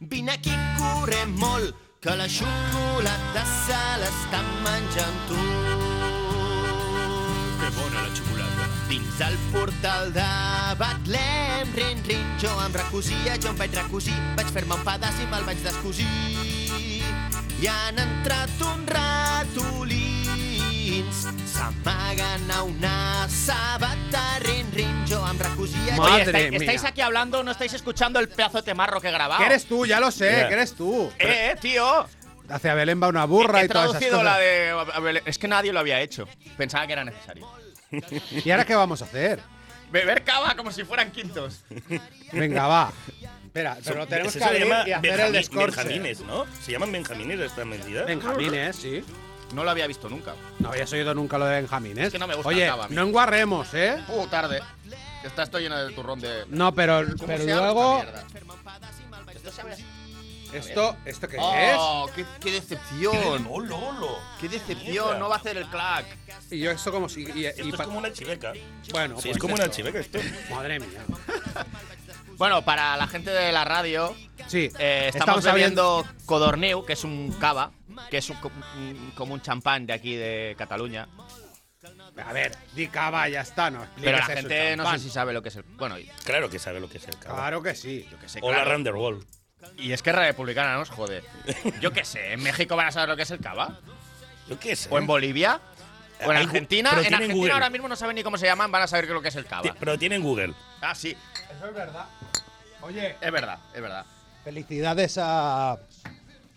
Speaker 5: vine aquí, correm molt, que la xocolata se l'estan menjant tots. Que bona la xocolata. Dins el portal de Betlem, rin, rin, jo em recosia, jo em vaig recosir, vaig fer-me un pedaç i me'l vaig descosir. I han entrat un ratolins, s'amaguen a una sabata, rin, rin, jo em recosia, jo
Speaker 1: Madre
Speaker 2: Oye, estáis,
Speaker 1: mía.
Speaker 2: estáis aquí hablando, no estáis escuchando el pedazo de temarro que he grabado.
Speaker 1: Que eres tú, ya lo sé,
Speaker 9: Mira.
Speaker 1: que eres tú.
Speaker 2: Eh, eh, tío.
Speaker 1: Hacia Belén va una burra
Speaker 2: he
Speaker 1: y todas esas
Speaker 2: traducido
Speaker 1: cosas.
Speaker 2: la de. a- a ver, Es que nadie lo había hecho. Pensaba que era necesario.
Speaker 1: ¿Y ahora qué vamos a hacer?
Speaker 2: Beber cava como si fueran quintos.
Speaker 1: Venga, va. Espera, pero tenemos
Speaker 9: Eso
Speaker 1: que
Speaker 9: se
Speaker 1: abrir
Speaker 9: llama
Speaker 1: y hacer el
Speaker 9: Benjamín-
Speaker 1: descorche.
Speaker 9: Benjamines, ¿no? Se llaman Benjamines esta medida.
Speaker 1: Benjamines, sí.
Speaker 2: No lo había visto nunca.
Speaker 1: No habías oído nunca lo de Benjamines.
Speaker 2: Es que no me gusta
Speaker 1: Oye,
Speaker 2: el cava a mí.
Speaker 1: no enguarremos, ¿eh?
Speaker 2: Uh, tarde. Está estoy lleno de turrón de.
Speaker 1: No, pero,
Speaker 2: ¿Cómo
Speaker 1: pero
Speaker 2: se abre
Speaker 1: luego.
Speaker 2: esta mierda? ¿Esto se abre así?
Speaker 1: ¿Esto, ¿Esto qué
Speaker 2: ¡Oh! Qué, qué decepción!
Speaker 9: ¡Lolo, lolo!
Speaker 2: ¡Qué decepción! No va a hacer el clack.
Speaker 1: es? Y yo esto como si. y- y-
Speaker 9: Esto es
Speaker 1: pa-
Speaker 9: como una chiveca.
Speaker 1: Bueno,
Speaker 9: Sí,
Speaker 1: pues
Speaker 9: es como una
Speaker 1: esto.
Speaker 9: chiveca esto.
Speaker 1: Madre mía.
Speaker 2: Bueno, para la gente de la radio,
Speaker 1: Sí,
Speaker 2: eh, estamos, bebiendo Codorniu, que es un cava, que es un co- un- como un champán de aquí de Cataluña.
Speaker 1: sabiendo- A ver, di cava, ya está, no.
Speaker 2: Pero la
Speaker 1: expliques eso,
Speaker 2: gente no sé
Speaker 1: champán.
Speaker 2: si sabe lo que es el. Bueno, y-
Speaker 9: Claro que sabe lo que es el cava.
Speaker 1: Claro que sí.
Speaker 2: yo qué sé.
Speaker 9: O la
Speaker 2: claro.
Speaker 9: Randerwall.
Speaker 2: Y es que republicana nos jode. Yo qué sé, ¿en México van a saber lo que es el cava?
Speaker 9: Yo qué sé.
Speaker 2: ¿O en Bolivia? ¿O en
Speaker 9: ¿Eh? Hay Gu-
Speaker 2: Argentina?
Speaker 9: pero
Speaker 2: En
Speaker 9: tienen
Speaker 2: Argentina
Speaker 9: Google.
Speaker 2: ahora mismo no saben ni cómo se llaman, van a saber lo que es el
Speaker 9: Ti-
Speaker 2: cava.
Speaker 9: Pero tienen Google.
Speaker 2: Ah, sí,
Speaker 1: Eso es verdad. Oye,
Speaker 2: es verdad, es verdad.
Speaker 1: Felicidades a,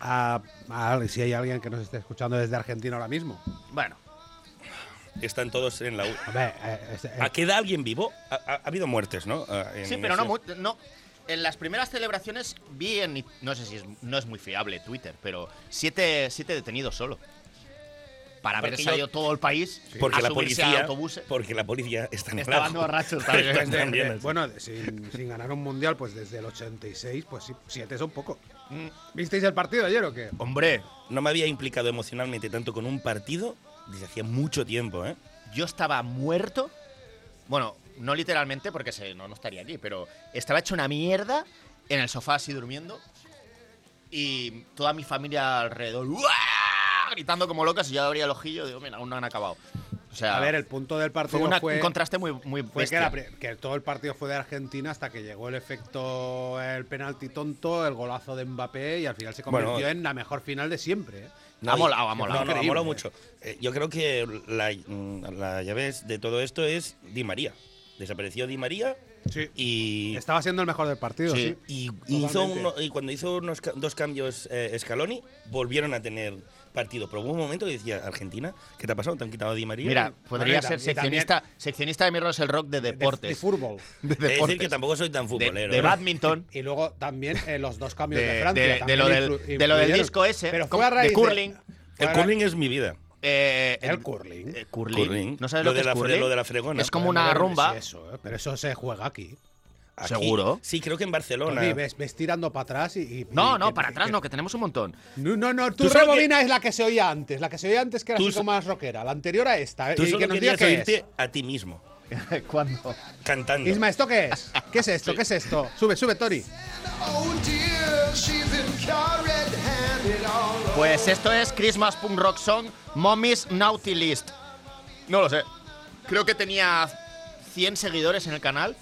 Speaker 1: a, a- si hay alguien que nos esté escuchando desde Argentina ahora mismo.
Speaker 2: Bueno,
Speaker 9: están todos en la U.
Speaker 1: A ver, eh, es- eh,
Speaker 9: ¿A ¿Queda alguien vivo? Ha, ha- ha habido muertes, ¿no? Ah, en
Speaker 2: Sí, pero no,
Speaker 9: ese-
Speaker 2: mu- no. En las primeras celebraciones vi en. No sé si es, no es muy fiable Twitter, pero siete, siete detenidos solo. Para haber
Speaker 9: Porque
Speaker 2: salido
Speaker 9: yo-
Speaker 2: todo el país
Speaker 9: Porque
Speaker 2: a
Speaker 9: la
Speaker 2: subirse
Speaker 9: policía.
Speaker 2: a autobuses.
Speaker 9: Porque la policía está en
Speaker 2: Estaban borrachos también.
Speaker 9: Están
Speaker 1: desde-
Speaker 9: también,
Speaker 1: de-
Speaker 9: así.
Speaker 1: bueno, de- sin, sin ganar un mundial, pues desde el 86, pues sí, siete son poco.
Speaker 9: Mm.
Speaker 1: ¿Visteis el partido ayer o qué?
Speaker 2: Hombre,
Speaker 9: No me había implicado emocionalmente tanto con un partido desde hacía mucho tiempo, ¿eh?
Speaker 2: yo estaba muerto. Bueno, no literalmente porque se- no, no estaría aquí, pero estaba hecho una mierda en el sofá así durmiendo. Y toda mi familia alrededor ¡uah! gritando como locas y yo abría el ojillo y digo, mira, aún no han acabado. O sea,
Speaker 1: A ver, el punto del
Speaker 2: fue,
Speaker 1: partido
Speaker 2: una-
Speaker 1: fue,
Speaker 2: un contraste muy, muy
Speaker 1: fue que,
Speaker 2: bestia.
Speaker 1: la pri- que todo el partido fue de Argentina hasta que llegó el efecto, el penalti tonto, el golazo de Mbappé y al final se
Speaker 9: Bueno,
Speaker 1: convirtió en la mejor final de siempre. ¿eh?
Speaker 2: Ha molado, ha
Speaker 9: No,
Speaker 2: molado.
Speaker 9: no, ha
Speaker 1: Increíble.
Speaker 9: molado mucho. Eh, yo creo que la, mm, la llave es- de todo esto es Di María. Desapareció Di María
Speaker 1: Sí.
Speaker 9: y,
Speaker 1: Estaba siendo el mejor del partido, sí.
Speaker 2: Sí.
Speaker 9: Eh, y, y hizo
Speaker 1: Totalmente.
Speaker 9: uno- y cuando hizo unos ca- dos cambios eh, Scaloni, volvieron a tener partido. Pero hubo un momento que decía, Argentina, ¿qué te ha pasado? ¿Te han quitado a Di María?
Speaker 2: Mira, podría
Speaker 1: Bueno, y
Speaker 2: ser
Speaker 1: tam- y también-
Speaker 2: seccionista, seccionista de Mirrors el Rock de
Speaker 1: De- De,
Speaker 2: deportes.
Speaker 1: fútbol.
Speaker 2: De
Speaker 9: es decir,
Speaker 2: deportes.
Speaker 9: que tampoco soy tan
Speaker 2: De,
Speaker 9: futbolero.
Speaker 2: de
Speaker 9: ¿eh?
Speaker 2: badminton.
Speaker 1: Y luego también eh, los dos
Speaker 2: De,
Speaker 1: cambios de, Francia.
Speaker 2: de- de
Speaker 1: también
Speaker 2: lo
Speaker 1: influ-
Speaker 2: del, de lo del
Speaker 1: influyeron.
Speaker 2: disco ese.
Speaker 1: Pero
Speaker 2: con-
Speaker 1: fue a raíz
Speaker 2: de curling.
Speaker 1: fue
Speaker 9: El
Speaker 1: a ra-
Speaker 9: curling es mi vida.
Speaker 2: eh,
Speaker 1: El curling.
Speaker 2: eh, curling.
Speaker 9: Curling.
Speaker 2: ¿No sabes
Speaker 9: Lo de
Speaker 2: lo, que es
Speaker 9: la fre-
Speaker 2: curling?
Speaker 9: lo de la fregona.
Speaker 2: Es como
Speaker 1: Joder, no
Speaker 2: una
Speaker 1: sé
Speaker 2: rumba.
Speaker 1: eso, ¿eh? Pero eso se juega aquí.
Speaker 9: Aquí-
Speaker 2: ¿Seguro?
Speaker 9: Sí, creo que en Barcelona.
Speaker 1: Tony, ves, ves tirando para atrás y. y-
Speaker 2: No,
Speaker 1: y-
Speaker 2: no,
Speaker 1: que-
Speaker 2: para atrás
Speaker 1: que-
Speaker 2: no, que tenemos un montón.
Speaker 1: No, no, no, tu
Speaker 9: Tú solo
Speaker 1: rebobina es la que se oía antes, la que se oía antes que era
Speaker 9: Tú
Speaker 1: así como más rockera, la anterior a esta. ¿eh?
Speaker 9: Tú
Speaker 1: y
Speaker 9: solo
Speaker 1: que nos diga
Speaker 9: querías
Speaker 1: qué es.
Speaker 9: oírte a ti mismo.
Speaker 2: ¿Cuándo?
Speaker 9: Cantando.
Speaker 1: Isma, ¿esto qué es? ¿Qué es esto? ¿Qué es esto? Sube, sube, Tori.
Speaker 2: Pues esto es Christmas Punk Rock Song Mommy's Naughty List. No lo sé. Creo que tenía 100 seguidores en el canal.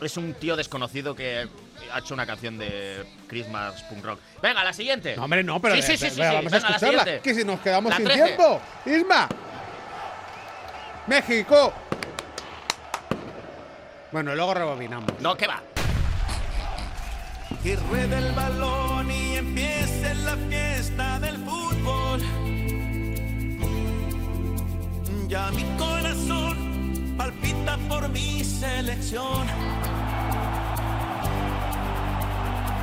Speaker 2: Es un tío desconocido que ha hecho una canción de Christmas Punk Rock. Venga, la siguiente.
Speaker 1: No, hombre, no, pero,
Speaker 2: Sí, sí,
Speaker 1: eh,
Speaker 2: sí,
Speaker 1: pero
Speaker 2: sí, sí.
Speaker 1: vamos a
Speaker 2: Venga, la
Speaker 1: escucharla.
Speaker 2: siguiente.
Speaker 1: Que si nos quedamos
Speaker 2: La
Speaker 1: sin
Speaker 2: 13.
Speaker 1: tiempo. Isma. México. Bueno, luego rebobinamos.
Speaker 2: No, ¿qué va?
Speaker 11: Que ruede el balón y empiece la fiesta del fútbol. Ya mi corazón palpita por mi selección.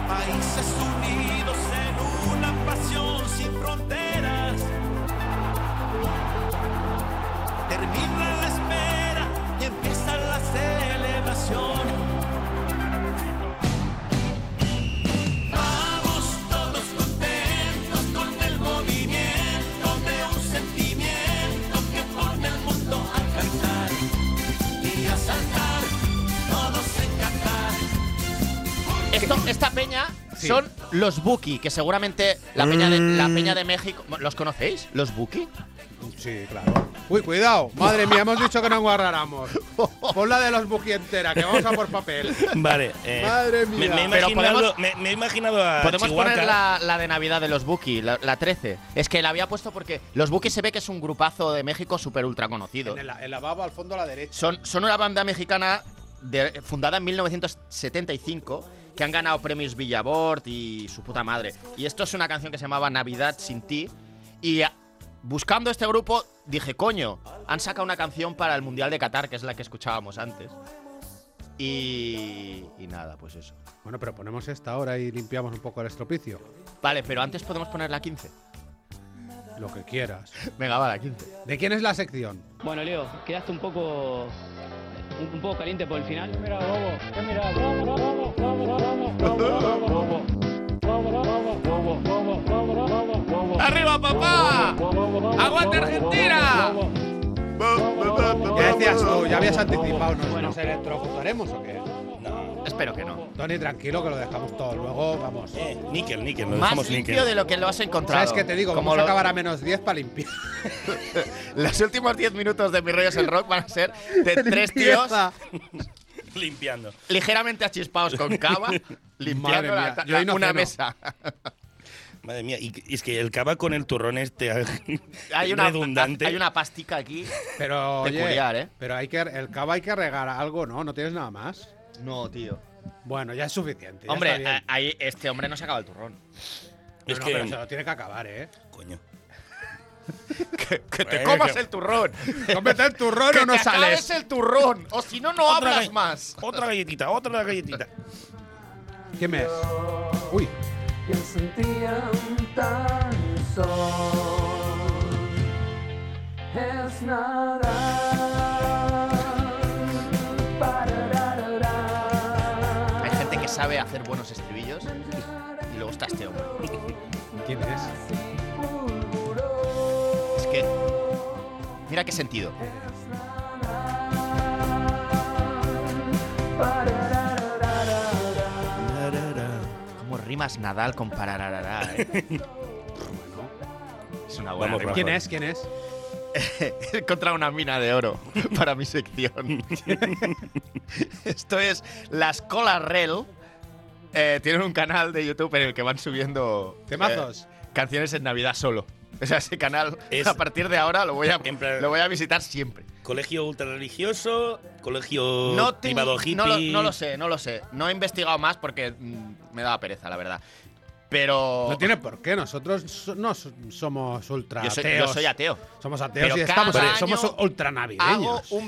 Speaker 11: Países unidos en una pasión sin fronteras. Termina la espera y empieza la celebración. Vamos todos contentos con el movimiento de un sentimiento que pone al mundo a cantar y a saltar, todos en Qatar.
Speaker 2: Esto, esta peña son los Buki, que seguramente la peña de, la peña de México. ¿Los conocéis? ¿Los Buki?
Speaker 1: Sí, claro. Uy, cuidado. Madre mía, hemos dicho que no guarráramos. Pon la de los buki entera, que vamos a por papel.
Speaker 9: Vale. eh,
Speaker 1: Madre
Speaker 9: me-
Speaker 1: mía.
Speaker 9: Me, he
Speaker 2: Pero
Speaker 9: imaginado-
Speaker 2: podemos-
Speaker 9: me- me he imaginado a
Speaker 2: Podemos
Speaker 9: Ah, Chihuahua.
Speaker 2: poner la, la de Navidad de los Buki, la, la 13. Es que la había puesto porque los Buki se ve que es un grupazo de México súper ultra conocido.
Speaker 1: En el, el lavabo al fondo a la derecha.
Speaker 2: Son, son una banda mexicana de- fundada en 1975 que han ganado premios Billboard y su puta madre. Y esto es una canción que se llamaba Navidad sin ti. Y a- buscando este grupo dije, coño, han sacado una canción para el Mundial de Qatar, que es la que escuchábamos antes. Y, y nada, pues eso.
Speaker 1: Bueno, pero ponemos esta ahora y limpiamos un poco el estropicio.
Speaker 2: Vale, pero antes podemos poner la 15.
Speaker 1: Lo que quieras.
Speaker 2: Venga, va, la 15.
Speaker 1: ¿De quién es la sección?
Speaker 10: Bueno, Leo, quedaste un poco. un, un poco caliente por el final.
Speaker 2: ¡Arriba, papá! ¡Aguante Argentina!
Speaker 1: Ya decías tú, ya habías anticipado. ¿Nos, nos electrocutaremos o qué?
Speaker 2: Espero que no.
Speaker 1: Tony, tranquilo, que lo dejamos todo. Luego, vamos.
Speaker 9: Eh, níquel, níquel. Lo
Speaker 2: Más
Speaker 9: dejamos níquel.
Speaker 2: limpio de lo que lo has encontrado.
Speaker 1: ¿Sabes qué te digo?
Speaker 2: Como
Speaker 1: Vamos a
Speaker 2: lo-
Speaker 1: acabar a menos 10 para limpiar.
Speaker 2: Los últimos 10 minutos de Mis Rollos el Rock van a ser de tres tíos
Speaker 1: Limpieza.
Speaker 9: Limpiando.
Speaker 2: ligeramente achispados con cava,
Speaker 1: Madre
Speaker 2: limpiando
Speaker 1: mía,
Speaker 2: la-
Speaker 1: yo ahí no
Speaker 2: una
Speaker 1: ceno.
Speaker 2: mesa.
Speaker 9: Madre mía, y, y es que el cava con el turrón este
Speaker 2: Hay una,
Speaker 9: redundante.
Speaker 2: hay una pastica aquí.
Speaker 1: Pero, oye,
Speaker 2: Peculiar, ¿eh?
Speaker 1: pero hay que, el cava hay que regar algo, ¿no? ¿No tienes nada más?
Speaker 2: No, tío.
Speaker 1: Bueno, ya es suficiente. ya está
Speaker 2: Hombre,
Speaker 1: bien.
Speaker 2: a- ahí este hombre no se acaba el turrón.
Speaker 1: No,
Speaker 9: Es
Speaker 1: no,
Speaker 9: que.
Speaker 1: pero se lo tiene que acabar, ¿eh?
Speaker 9: Coño.
Speaker 12: Que, que te
Speaker 9: Bueno,
Speaker 12: comas
Speaker 9: que-
Speaker 12: el turrón.
Speaker 1: Cómete el turrón
Speaker 12: Que
Speaker 1: o no
Speaker 12: te
Speaker 1: sales.
Speaker 12: acabes el turrón. O si no, no
Speaker 9: Otra
Speaker 12: hablas
Speaker 9: ga-
Speaker 12: más.
Speaker 9: Otra galletita, otra galletita.
Speaker 1: ¿Qué mes? Uy.
Speaker 10: que sentían tan sol es nada.
Speaker 2: Hay gente que sabe hacer buenos estribillos y le gusta este hombre.
Speaker 1: ¿Quién es?
Speaker 2: Es que. Mira qué sentido. Como rimas Nadal con parararará. eh? Es una buena
Speaker 9: Vamos,
Speaker 2: rima.
Speaker 1: ¿Quién es? ¿Quién es?
Speaker 12: He encontrado una mina de oro para mi sección.
Speaker 2: Esto es Las Colas Rel. eh, tienen un canal de YouTube en el que van subiendo eh,
Speaker 1: Temazos.
Speaker 2: canciones en Navidad solo. O sea, ese canal
Speaker 9: Es-
Speaker 2: a partir de ahora lo voy a,
Speaker 9: En plan-
Speaker 2: lo voy a visitar siempre.
Speaker 9: Colegio ultrarreligioso, colegio
Speaker 2: No, te-
Speaker 9: privado hippie.
Speaker 2: no lo, no lo sé, no lo sé. No he investigado más porque mm, me daba pereza, la verdad. Pero.
Speaker 1: No tiene por qué. Nosotros so- no so- somos ultra
Speaker 2: yo, soy, yo
Speaker 1: ateos.
Speaker 2: soy ateo.
Speaker 1: Somos ateos
Speaker 2: Pero
Speaker 1: y estamos
Speaker 2: cada
Speaker 1: ahí. Somos
Speaker 2: año
Speaker 1: ultra
Speaker 2: Hago
Speaker 1: navideños.
Speaker 2: un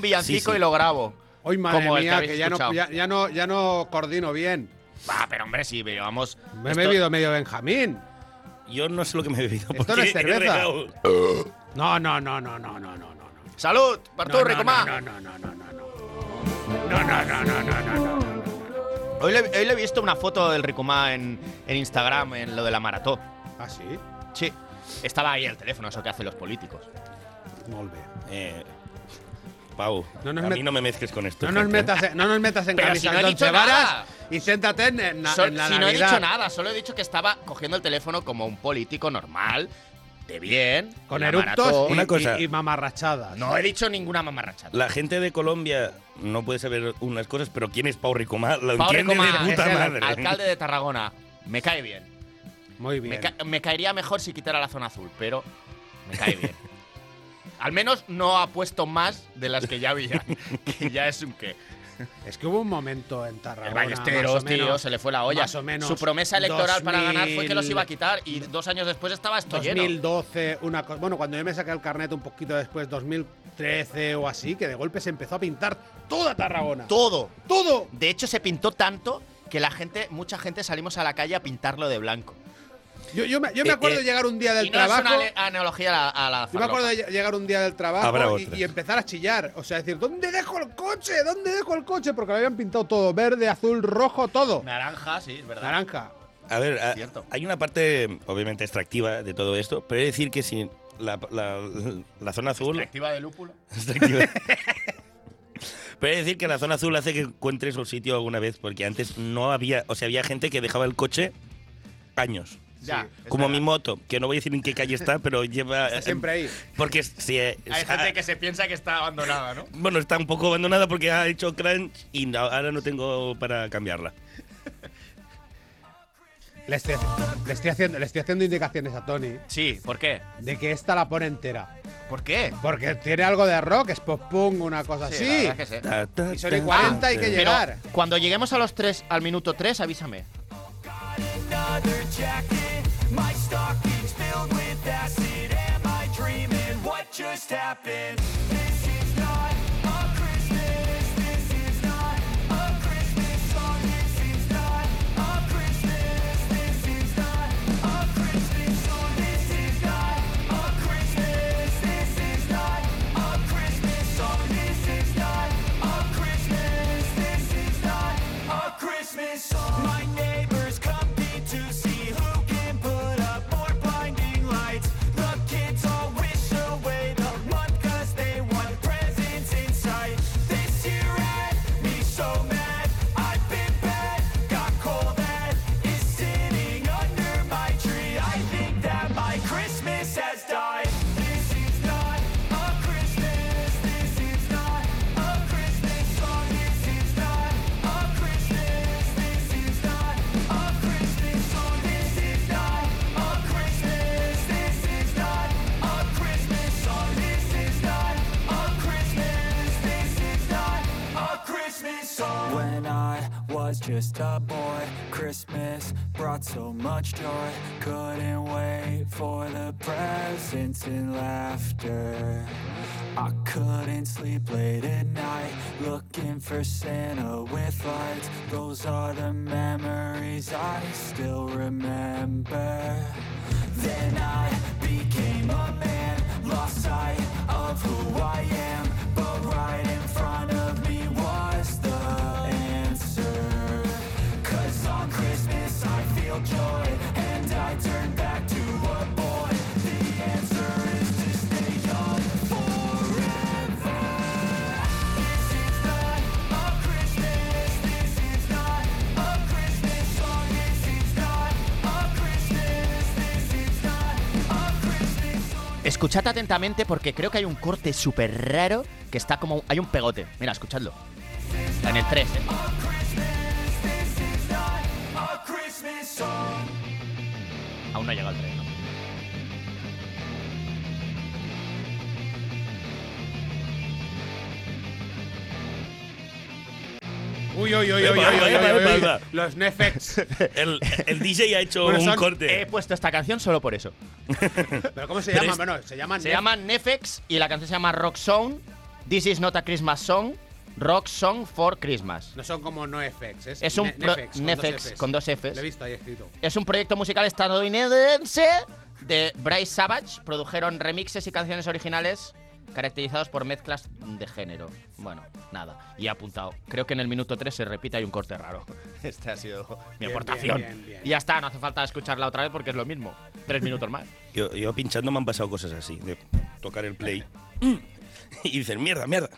Speaker 9: Sí,
Speaker 2: villancico
Speaker 9: sí.
Speaker 2: y lo grabo.
Speaker 1: Hoy, madre
Speaker 2: como el que
Speaker 1: mía,
Speaker 2: habéis
Speaker 1: que ya no,
Speaker 2: escuchado.
Speaker 1: ya, ya no, ya no coordino bien.
Speaker 2: Ah, pero hombre, sí, pero vamos.
Speaker 1: Me he
Speaker 2: esto-
Speaker 1: bebido medio Benjamín.
Speaker 9: Yo no sé lo que me he bebido.
Speaker 1: Esto
Speaker 9: porque
Speaker 1: no es
Speaker 9: he
Speaker 1: cerveza.
Speaker 9: regado.
Speaker 1: No, no, no, no, no, no, no, no.
Speaker 2: ¡Salud!
Speaker 1: No,
Speaker 2: ¡Bartú,
Speaker 1: no,
Speaker 2: Ricomá!
Speaker 1: no, no, no, no, no, no. No, no, no, no, no, no, no, no.
Speaker 2: Hoy, le, hoy le he visto una foto del Ricomá en, en Instagram, en lo de la maratón.
Speaker 1: Ah, sí?
Speaker 2: Sí. Estaba ahí el teléfono, eso que hacen los políticos.
Speaker 1: Molt bé.
Speaker 9: Eh, Pau,
Speaker 1: No nos
Speaker 9: a
Speaker 1: met-
Speaker 9: mí no me mezcles con esto.
Speaker 1: No nos
Speaker 9: gente, ¿eh?
Speaker 1: metas, en- no nos metas en
Speaker 2: Pero
Speaker 1: camisas
Speaker 2: si no he
Speaker 1: de
Speaker 2: dicho
Speaker 1: once varas
Speaker 2: nada.
Speaker 1: y siéntate en, en la,
Speaker 2: Sol-
Speaker 1: en la
Speaker 2: si no he
Speaker 1: Navidad.
Speaker 2: dicho nada, solo he dicho que estaba cogiendo el teléfono como un político normal, de bien,
Speaker 1: Con
Speaker 2: la
Speaker 1: eructos
Speaker 2: maratón.
Speaker 1: y,
Speaker 9: Una cosa.
Speaker 1: y- y mamarrachadas.
Speaker 2: No he dicho ninguna mamarrachada.
Speaker 9: La gente de Colombia no puede saber unas cosas, pero ¿quién es Pau Ricomá? Lo
Speaker 2: Pablo
Speaker 9: entiende
Speaker 2: Comá
Speaker 9: de puta
Speaker 2: es el
Speaker 9: madre.
Speaker 2: alcalde de Tarragona. Me cae bien.
Speaker 1: Muy
Speaker 2: Me,
Speaker 1: bien.
Speaker 2: ca- me caería mejor si quitara la zona azul, pero me cae bien. Al menos no ha puesto más de las que ya había, que ya es un qué.
Speaker 1: Es que hubo un momento en Tarragona.
Speaker 2: El
Speaker 1: más
Speaker 2: Ballesteros,
Speaker 1: o
Speaker 2: tío,
Speaker 1: menos,
Speaker 2: se le fue la olla.
Speaker 1: más o menos
Speaker 2: Su promesa electoral para ganar fue que los
Speaker 1: 2000,
Speaker 2: iba a quitar y dos años después estaba esto lleno.
Speaker 1: 2012, una cosa. Bueno, cuando yo me saqué el carnet un poquito después, 2013 o así, que de golpe se empezó a pintar toda Tarragona.
Speaker 2: Todo.
Speaker 1: ¡Todo!
Speaker 2: De hecho, se pintó tanto que la gente, mucha gente salimos a la calle a pintarlo de blanco.
Speaker 1: Yo, yo me, yo me acuerdo
Speaker 9: eh,
Speaker 1: llegar un día del
Speaker 2: y no
Speaker 1: trabajo.
Speaker 2: es una ale- analogía a la, a la
Speaker 1: Yo me
Speaker 2: farlopa.
Speaker 1: acuerdo de lle- llegar un día del
Speaker 9: Habrá
Speaker 1: trabajo y,
Speaker 9: otras.
Speaker 1: y empezar a chillar. O sea, decir, ¿dónde dejo el coche? ¿Dónde dejo el coche? Porque lo habían pintado todo, verde, azul, rojo, todo.
Speaker 2: Naranja, sí, es verdad.
Speaker 1: Naranja.
Speaker 9: A ver, a-
Speaker 2: Cierto.
Speaker 9: hay una parte obviamente extractiva de todo esto, pero he de decir que si la, la- la zona azul.
Speaker 2: Extractiva de lúpulo.
Speaker 9: extractiva. pero he de decir que la zona azul hace que encuentres un sitio alguna vez, porque antes no había. O sea, había gente que dejaba el coche años.
Speaker 2: Ya. es
Speaker 9: Como mi
Speaker 2: verdad.
Speaker 9: moto, que no voy a decir en qué calle está, pero lleva.
Speaker 2: Em.
Speaker 1: Está siempre ahí.
Speaker 9: Porque si,
Speaker 2: Hay gente que se piensa que está abandonada, ¿no?
Speaker 9: Bueno, está un poco abandonada porque ha hecho crunch y no- ahora no tengo para cambiarla.
Speaker 1: Le estoy, haci- le estoy haciendo, le estoy haciendo indicaciones a Tony
Speaker 2: Sí, ¿por qué?
Speaker 1: de que esta la pone entera.
Speaker 2: ¿Por qué?
Speaker 1: Porque tiene algo de rock, es post-punk, una cosa
Speaker 2: Sí, la
Speaker 1: así.
Speaker 2: verdad que sí.
Speaker 9: Ta, ta,
Speaker 1: Y son
Speaker 9: ta,
Speaker 1: y 40 hay
Speaker 9: ta.
Speaker 1: que
Speaker 2: Pero
Speaker 1: llegar.
Speaker 2: cuando lleguemos a los tres, al minuto 3, avísame.
Speaker 10: When I was just a boy, Christmas brought so much joy. Couldn't wait for the presents and laughter. I couldn't sleep late at night, looking for Santa with lights. Those are the memories I still remember. Then I became a man, lost sight of who I am. But right in front of me was the answer. Cause on Christmas I feel joy, and I turn back to a boy. The answer is to stay young forever. This is not a Christmas, this is not a Christmas song, this is not a Christmas, this is not a Christmas
Speaker 2: Escuchad atentamente porque creo que hay un corte súper raro que está como. Hay un pegote. Mira, escuchadlo. En el ¿eh? 3.
Speaker 10: A Christmas song.
Speaker 2: Aún no ha llegado el 3.
Speaker 1: Uy, uy, uy, uy, uy, uy,
Speaker 9: Epa,
Speaker 1: uy,
Speaker 9: epa,
Speaker 1: uy,
Speaker 9: epa,
Speaker 1: uy.
Speaker 9: epa.
Speaker 1: Los Nefex.
Speaker 9: El, el DJ ha hecho un corte.
Speaker 1: E
Speaker 2: He puesto esta canción solo por eso.
Speaker 1: ¿Pero cómo se
Speaker 2: Pero
Speaker 1: llama?
Speaker 2: es-
Speaker 1: Bueno, se llaman
Speaker 2: Se
Speaker 1: Nef-
Speaker 2: llaman Nefex y la canción se llama Rock Song. This is not a Christmas song. Rock Song for Christmas.
Speaker 1: No son como NoFX, es,
Speaker 2: Es un
Speaker 1: Ne-
Speaker 2: pro-
Speaker 1: Nefex,
Speaker 2: Nefex con dos Fs.
Speaker 1: Lo he visto ahí escrito.
Speaker 2: Es un proyecto musical estadounidense de Bryce Savage. Produjeron remixes y canciones originales caracterizados por mezclas de género. Bueno, nada. Y he apuntado. Creo que en el minuto 3 se repite hay un corte raro. Este ha sido mi
Speaker 9: Bien,
Speaker 2: aportación.
Speaker 9: bien, bien, bien.
Speaker 2: Y ya está, no hace falta escucharla otra vez porque es lo mismo. Tres minutos más.
Speaker 9: Yo, yo pinchando me han pasado cosas así, de tocar el play.
Speaker 2: Mm.
Speaker 9: Y dicen, mierda, mierda.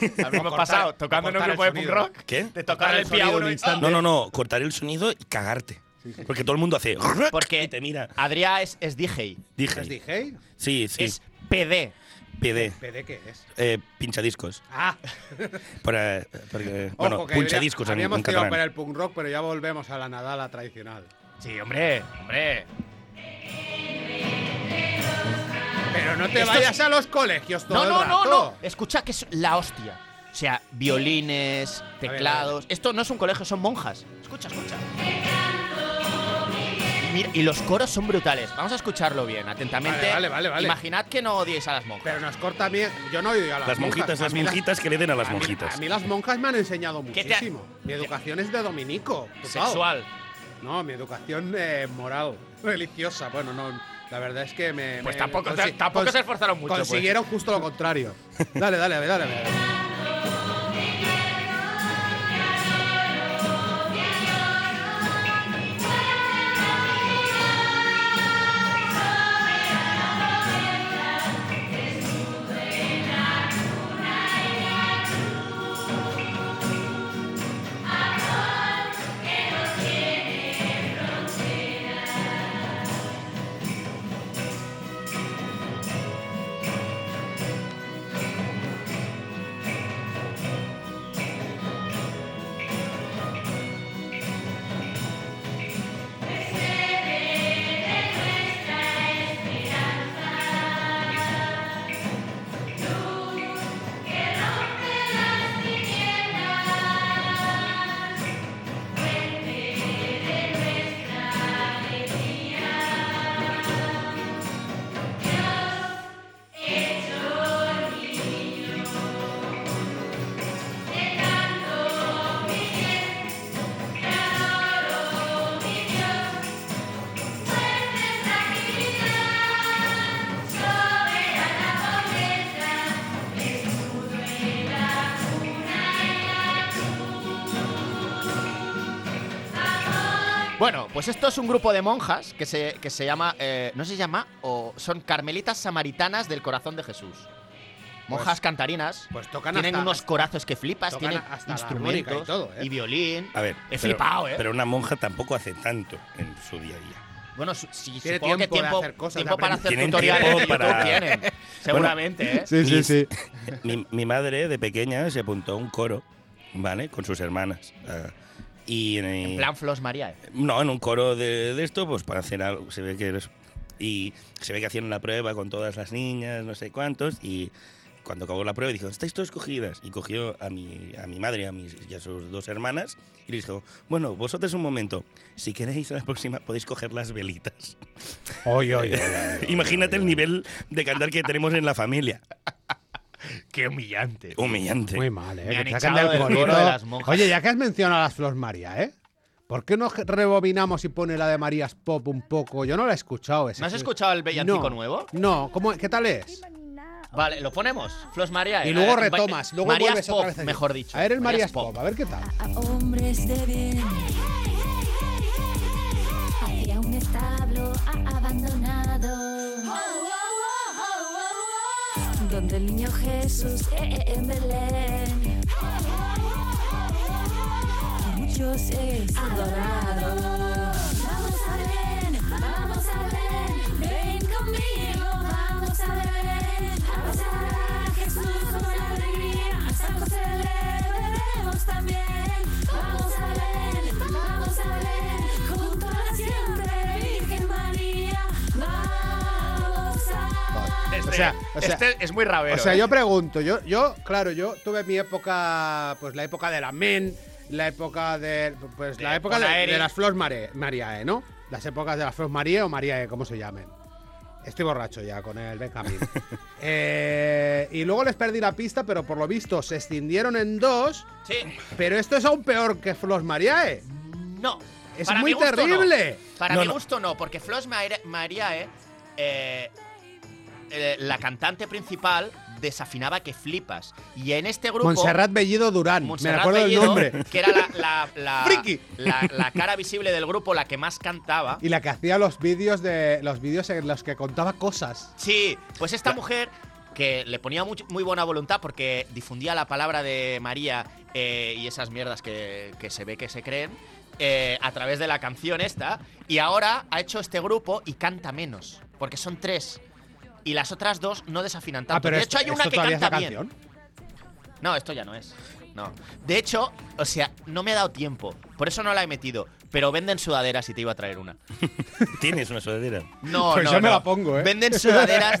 Speaker 2: Hemos pasado tocando en un grupo de punk rock.
Speaker 9: ¿Qué?
Speaker 2: De tocar el pia uno y-
Speaker 9: No, no, no, cortar el sonido y cagarte. Porque todo el mundo hace.
Speaker 2: Porque Ah, pues Adrián es, es DJ.
Speaker 9: Dije.
Speaker 1: ¿Es DJ?
Speaker 9: Sí, sí. Es
Speaker 2: PD.
Speaker 9: PD.
Speaker 1: ¿PD qué es?
Speaker 9: Eh, pinchadiscos.
Speaker 1: Ah,
Speaker 9: Para, porque, bueno,
Speaker 1: ojo, que habría-
Speaker 9: punchadiscos en,
Speaker 1: habíamos
Speaker 9: en
Speaker 1: tirado
Speaker 9: catalán.
Speaker 1: para el punk rock, pero ya volvemos a la nadala tradicional.
Speaker 2: Sí, hombre, hombre.
Speaker 1: Pero no te
Speaker 2: Esto
Speaker 1: vayas
Speaker 2: es-
Speaker 1: a los colegios todo
Speaker 2: No,
Speaker 1: el
Speaker 2: no, no,
Speaker 1: rato.
Speaker 2: no. Escucha que es la hostia. O sea, violines, teclados. Esto no es un colegio, son monjas. Escucha, escucha. Y, mira- y los coros son brutales. Vamos a escucharlo bien, atentamente.
Speaker 1: Vale, vale, vale, vale.
Speaker 2: Imaginad que no odiéis a las monjas.
Speaker 1: Pero nos corta bien. Yo no odio a las,
Speaker 9: Las monjitas,
Speaker 1: a
Speaker 9: las
Speaker 1: mí
Speaker 9: monjitas que le den a las
Speaker 1: a mí-
Speaker 9: monjitas.
Speaker 1: A mí las monjas me han enseñado
Speaker 2: ¿Qué te ha-
Speaker 1: muchísimo. Mi educación es de dominico. tú sabes.
Speaker 2: Sexual.
Speaker 1: No, mi educación eh, moral, religiosa. Bueno, no. La verdad es que me.
Speaker 2: Pues
Speaker 1: me-
Speaker 2: tampoco se-
Speaker 1: consi-
Speaker 2: tampoco
Speaker 1: cons-
Speaker 2: se esforzaron mucho, pues.
Speaker 1: Consiguieron justo lo contrario. Dale, dale, dale, dale. dale.
Speaker 2: Bueno, pues esto es un grupo de monjas que se, que se llama. eh, no se llama, o son carmelitas samaritanas del corazón de Jesús. Monjas
Speaker 1: Pues-
Speaker 2: cantarinas.
Speaker 1: Pues tocan
Speaker 2: tienen
Speaker 1: hasta-
Speaker 2: unos corazos que flipas,
Speaker 1: tocan
Speaker 2: tienen
Speaker 1: hasta la armónica
Speaker 2: instrumentos
Speaker 1: y todo, ¿eh?
Speaker 2: y violín.
Speaker 9: A ver,
Speaker 2: He
Speaker 9: pero-
Speaker 2: flipado, ¿eh?
Speaker 9: Pero una monja tampoco hace tanto en su día a día.
Speaker 2: Bueno, su- si
Speaker 1: Tiene
Speaker 2: supongo que
Speaker 1: tiempo de
Speaker 2: tiempo,
Speaker 1: hacer cosas, de
Speaker 2: tiempo para hacer
Speaker 9: Tienen
Speaker 2: tutoriales
Speaker 9: tiempo
Speaker 2: de YouTube
Speaker 9: para-
Speaker 2: tienen, seguramente, ¿eh?
Speaker 1: Sí, sí,
Speaker 9: Mis-
Speaker 1: sí.
Speaker 9: Mi, mi madre de pequeña se apuntó a un coro, ¿vale? Con sus hermanas. ah, y en,
Speaker 2: En plan Flos María. ¿eh?
Speaker 9: No, en un coro de, de esto, pues para hacer algo, se ve que eres... Y se ve que hacían una prueba con todas las niñas, no sé cuántos, y cuando acabó la prueba dijo, estáis todos cogidas. Y cogió a mi, a mi madre a mis, y a sus dos hermanas y les dijo, bueno, vosotros un momento, si queréis a la próxima podéis coger las velitas.
Speaker 1: Oye, oye,
Speaker 9: Imagínate el nivel de cantar que tenemos en la familia.
Speaker 2: Qué humillante.
Speaker 9: Humillante.
Speaker 1: Muy mal, ¿eh?
Speaker 2: Me han
Speaker 1: Que te
Speaker 2: echado
Speaker 1: sacan del
Speaker 2: del coro
Speaker 1: corito.
Speaker 2: de las monjas.
Speaker 1: Oye, ya que has mencionado a las Flor María, ¿eh? ¿Por qué no rebobinamos y pone la de Marías Pop un poco? Yo no la he escuchado. Ese
Speaker 2: ¿No has escuchado el villancico nuevo?
Speaker 1: No, ¿Cómo, ¿qué tal es?
Speaker 2: Vale, lo ponemos. Flos María.
Speaker 1: Y
Speaker 2: eh,
Speaker 1: luego
Speaker 2: eh,
Speaker 1: retomas, luego
Speaker 2: Marías
Speaker 1: vuelves
Speaker 2: Pop,
Speaker 1: otra vez. ahí.
Speaker 2: mejor dicho.
Speaker 1: A ver el Marías,
Speaker 2: Marías
Speaker 1: Pop, a ver qué tal.
Speaker 13: a hombres de bien. Hacia un establo a- abandonado. Donde el niño Jesús eh, eh, en Belén. Muchos es adorado. Vamos a Belén, vamos a Belén. Ven conmigo, vamos a Belén. A pasar a Jesús con alegría. A San José le veremos también. Vamos a Belén, vamos a Belén. Junto a la siempre Virgen María. Vamos a
Speaker 1: O sea, o sea-
Speaker 2: este es muy rabero.
Speaker 1: O sea,
Speaker 2: ¿eh?
Speaker 1: yo pregunto, yo, yo, claro, yo tuve mi época, pues la época de la men, la época de, pues la época de,
Speaker 2: Ponaeri.
Speaker 1: de las flores Mare- Mariae, ¿no? Las épocas de las flores María o Mariae, como se llamen. Estoy borracho ya con el Benjamín. Eh, y luego les perdí la pista, pero por lo visto se escindieron en dos.
Speaker 2: Sí.
Speaker 1: Pero esto es aún peor que E. Flos Mariae.
Speaker 2: No.
Speaker 1: Es
Speaker 2: Para
Speaker 1: muy
Speaker 2: mi gusto, no.
Speaker 1: terrible.
Speaker 2: Para
Speaker 1: No,
Speaker 2: mi
Speaker 1: no.
Speaker 2: gusto no, porque Flos Maire- Mariae, eh, eh, la cantante principal, desafinaba que flipas. Y en este grupo.
Speaker 1: Montserrat Bellido Durán,
Speaker 2: Montserrat
Speaker 1: me acuerdo del
Speaker 2: Bellido,
Speaker 1: nombre.
Speaker 2: Que era la, la- la-
Speaker 1: Friki.
Speaker 2: la- la cara visible del grupo, la que más cantaba.
Speaker 1: Y la que hacía los vídeos de los vídeos en los que contaba cosas.
Speaker 2: Sí, pues esta mujer que le ponía much- muy, buena voluntad porque difundía la palabra de María eh, y esas mierdas que, que se ve que se creen eh, a través de la canción esta. Y ahora ha hecho este grupo y canta menos, porque son tres. Y las otras dos no desafinan tanto. de hecho,
Speaker 1: Ah, esto-
Speaker 2: hay una
Speaker 1: esto
Speaker 2: que
Speaker 1: todavía
Speaker 2: canta
Speaker 1: es la
Speaker 2: bien. No, esto ya no es. No. De hecho, o sea, no me ha dado tiempo. Por eso no la he metido. Pero venden sudaderas y te iba a traer una.
Speaker 9: Tienes una sudadera.
Speaker 2: No,
Speaker 1: Pues
Speaker 2: no,
Speaker 1: yo me
Speaker 2: no.
Speaker 1: la pongo, ¿eh?
Speaker 2: Venden sudaderas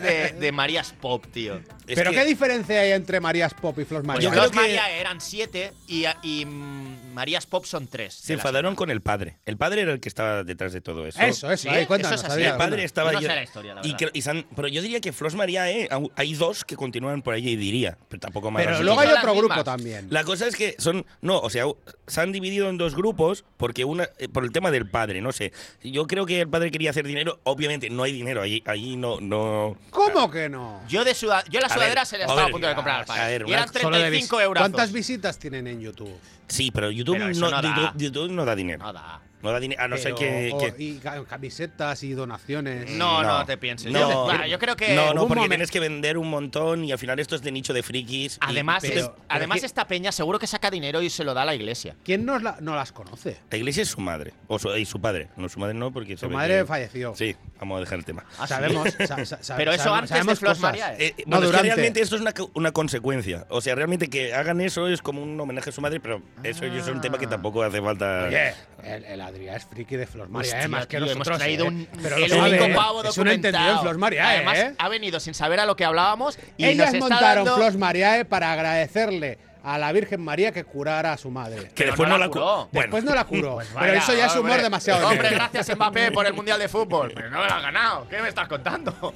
Speaker 2: de, de Marías Pop, tío.
Speaker 1: Pero ¿qué diferencia hay entre Marías Pop y Flos
Speaker 2: Pues
Speaker 1: María?
Speaker 2: Flos María eran siete y, y, mm, Marías Pop son tres.
Speaker 9: Se enfadaron con el padre. El padre era el que estaba detrás de todo eso.
Speaker 1: Eso, eso, ahí, cuéntanos,
Speaker 2: Eso es así. Adrián.
Speaker 9: El padre estaba
Speaker 2: No sé
Speaker 9: yo-
Speaker 2: la historia, la
Speaker 9: y
Speaker 2: verdad.
Speaker 9: que- y se han- pero yo diría que Flos María, eh, au- hay dos que continúan por ahí y diría, pero tampoco más.
Speaker 1: Pero luego hay otro grupo también.
Speaker 9: La cosa es que son, no, o sea, se han dividido en dos grupos porque una, eh, por el tema del padre, no sé. Yo creo que el padre quería hacer dinero, obviamente no hay dinero allí, allí no, no.
Speaker 1: ¿Cómo que no?
Speaker 2: Yo de suda- yo la
Speaker 9: A
Speaker 2: sudadera
Speaker 9: ver,
Speaker 2: se
Speaker 9: a
Speaker 2: la estaba a
Speaker 9: ver,
Speaker 2: punto de comprar al
Speaker 9: a
Speaker 2: padre.
Speaker 9: ver,
Speaker 2: y
Speaker 9: una-
Speaker 2: eran
Speaker 9: solo de
Speaker 2: 35
Speaker 9: vis-
Speaker 2: euros.
Speaker 1: ¿Cuántas visitas tienen en YouTube?
Speaker 9: Sí, pero YouTube
Speaker 2: Pero eso
Speaker 9: no,
Speaker 2: no da.
Speaker 9: YouTube- YouTube no da dinero.
Speaker 2: No da.
Speaker 9: No da dinero, a no ser
Speaker 1: Pero-
Speaker 9: que-
Speaker 1: o-
Speaker 9: que
Speaker 1: Y ca- camisetas y donaciones.
Speaker 2: No, oh, no, te pienses.
Speaker 9: No,
Speaker 2: Yo, te- bueno, yo creo que.
Speaker 9: No, no,
Speaker 1: Hubo un
Speaker 9: porque
Speaker 1: momen-
Speaker 9: tienes que vender un montón y al final esto es de nicho de frikis. y-
Speaker 2: Además,
Speaker 9: Pero-
Speaker 2: es-
Speaker 9: pero
Speaker 2: además
Speaker 9: que-
Speaker 2: esta peña seguro que saca dinero y se lo da a la iglesia.
Speaker 1: ¿Quién nos la- no las conoce?
Speaker 9: La iglesia es su madre. O su, y su padre. No, su madre no, porque.
Speaker 1: Su madre falleció.
Speaker 9: Sí, vamos a dejar el tema.
Speaker 1: Ah, Sabemos, sí. sa- sa- sa- Pero eso sabemos- antes de sabemos
Speaker 9: sabemos
Speaker 1: Flos cosas. María, ¿eh?
Speaker 9: Eh, eh, bueno,
Speaker 1: No,
Speaker 9: es que
Speaker 1: durante.
Speaker 9: realmente esto es una, co- una consecuencia. O sea, realmente que hagan eso es como un homenaje a su madre, pero eso es un tema que tampoco hace falta.
Speaker 1: Oye, Eh, el, el Adrián es friki de Flos María,
Speaker 2: Hostia,
Speaker 1: eh, más que
Speaker 2: tío,
Speaker 1: nosotros.
Speaker 2: hemos traído
Speaker 1: eh.
Speaker 2: un,
Speaker 1: Pero
Speaker 2: el
Speaker 1: lo sabe,
Speaker 2: único
Speaker 1: eh.
Speaker 2: pavo
Speaker 1: Es un entendido en
Speaker 2: documentado.
Speaker 1: Flos María,
Speaker 2: Además,
Speaker 1: eh.
Speaker 2: ha venido sin saber a lo que hablábamos y
Speaker 1: Ellas
Speaker 2: nos está
Speaker 1: montaron
Speaker 2: dando-
Speaker 1: Flos Mariae para agradecerle a la Virgen María que curara a su madre.
Speaker 9: Que después no la curó.
Speaker 1: Después
Speaker 9: Bueno.
Speaker 1: no la curó.
Speaker 9: Pues
Speaker 1: pero
Speaker 2: Vaya,
Speaker 1: eso ya es humor
Speaker 2: hombre.
Speaker 1: demasiado
Speaker 2: Hombre,
Speaker 1: negro.
Speaker 2: gracias Mbappé por el Mundial de Fútbol. Pero no me lo has ganado. ¿Qué me estás contando?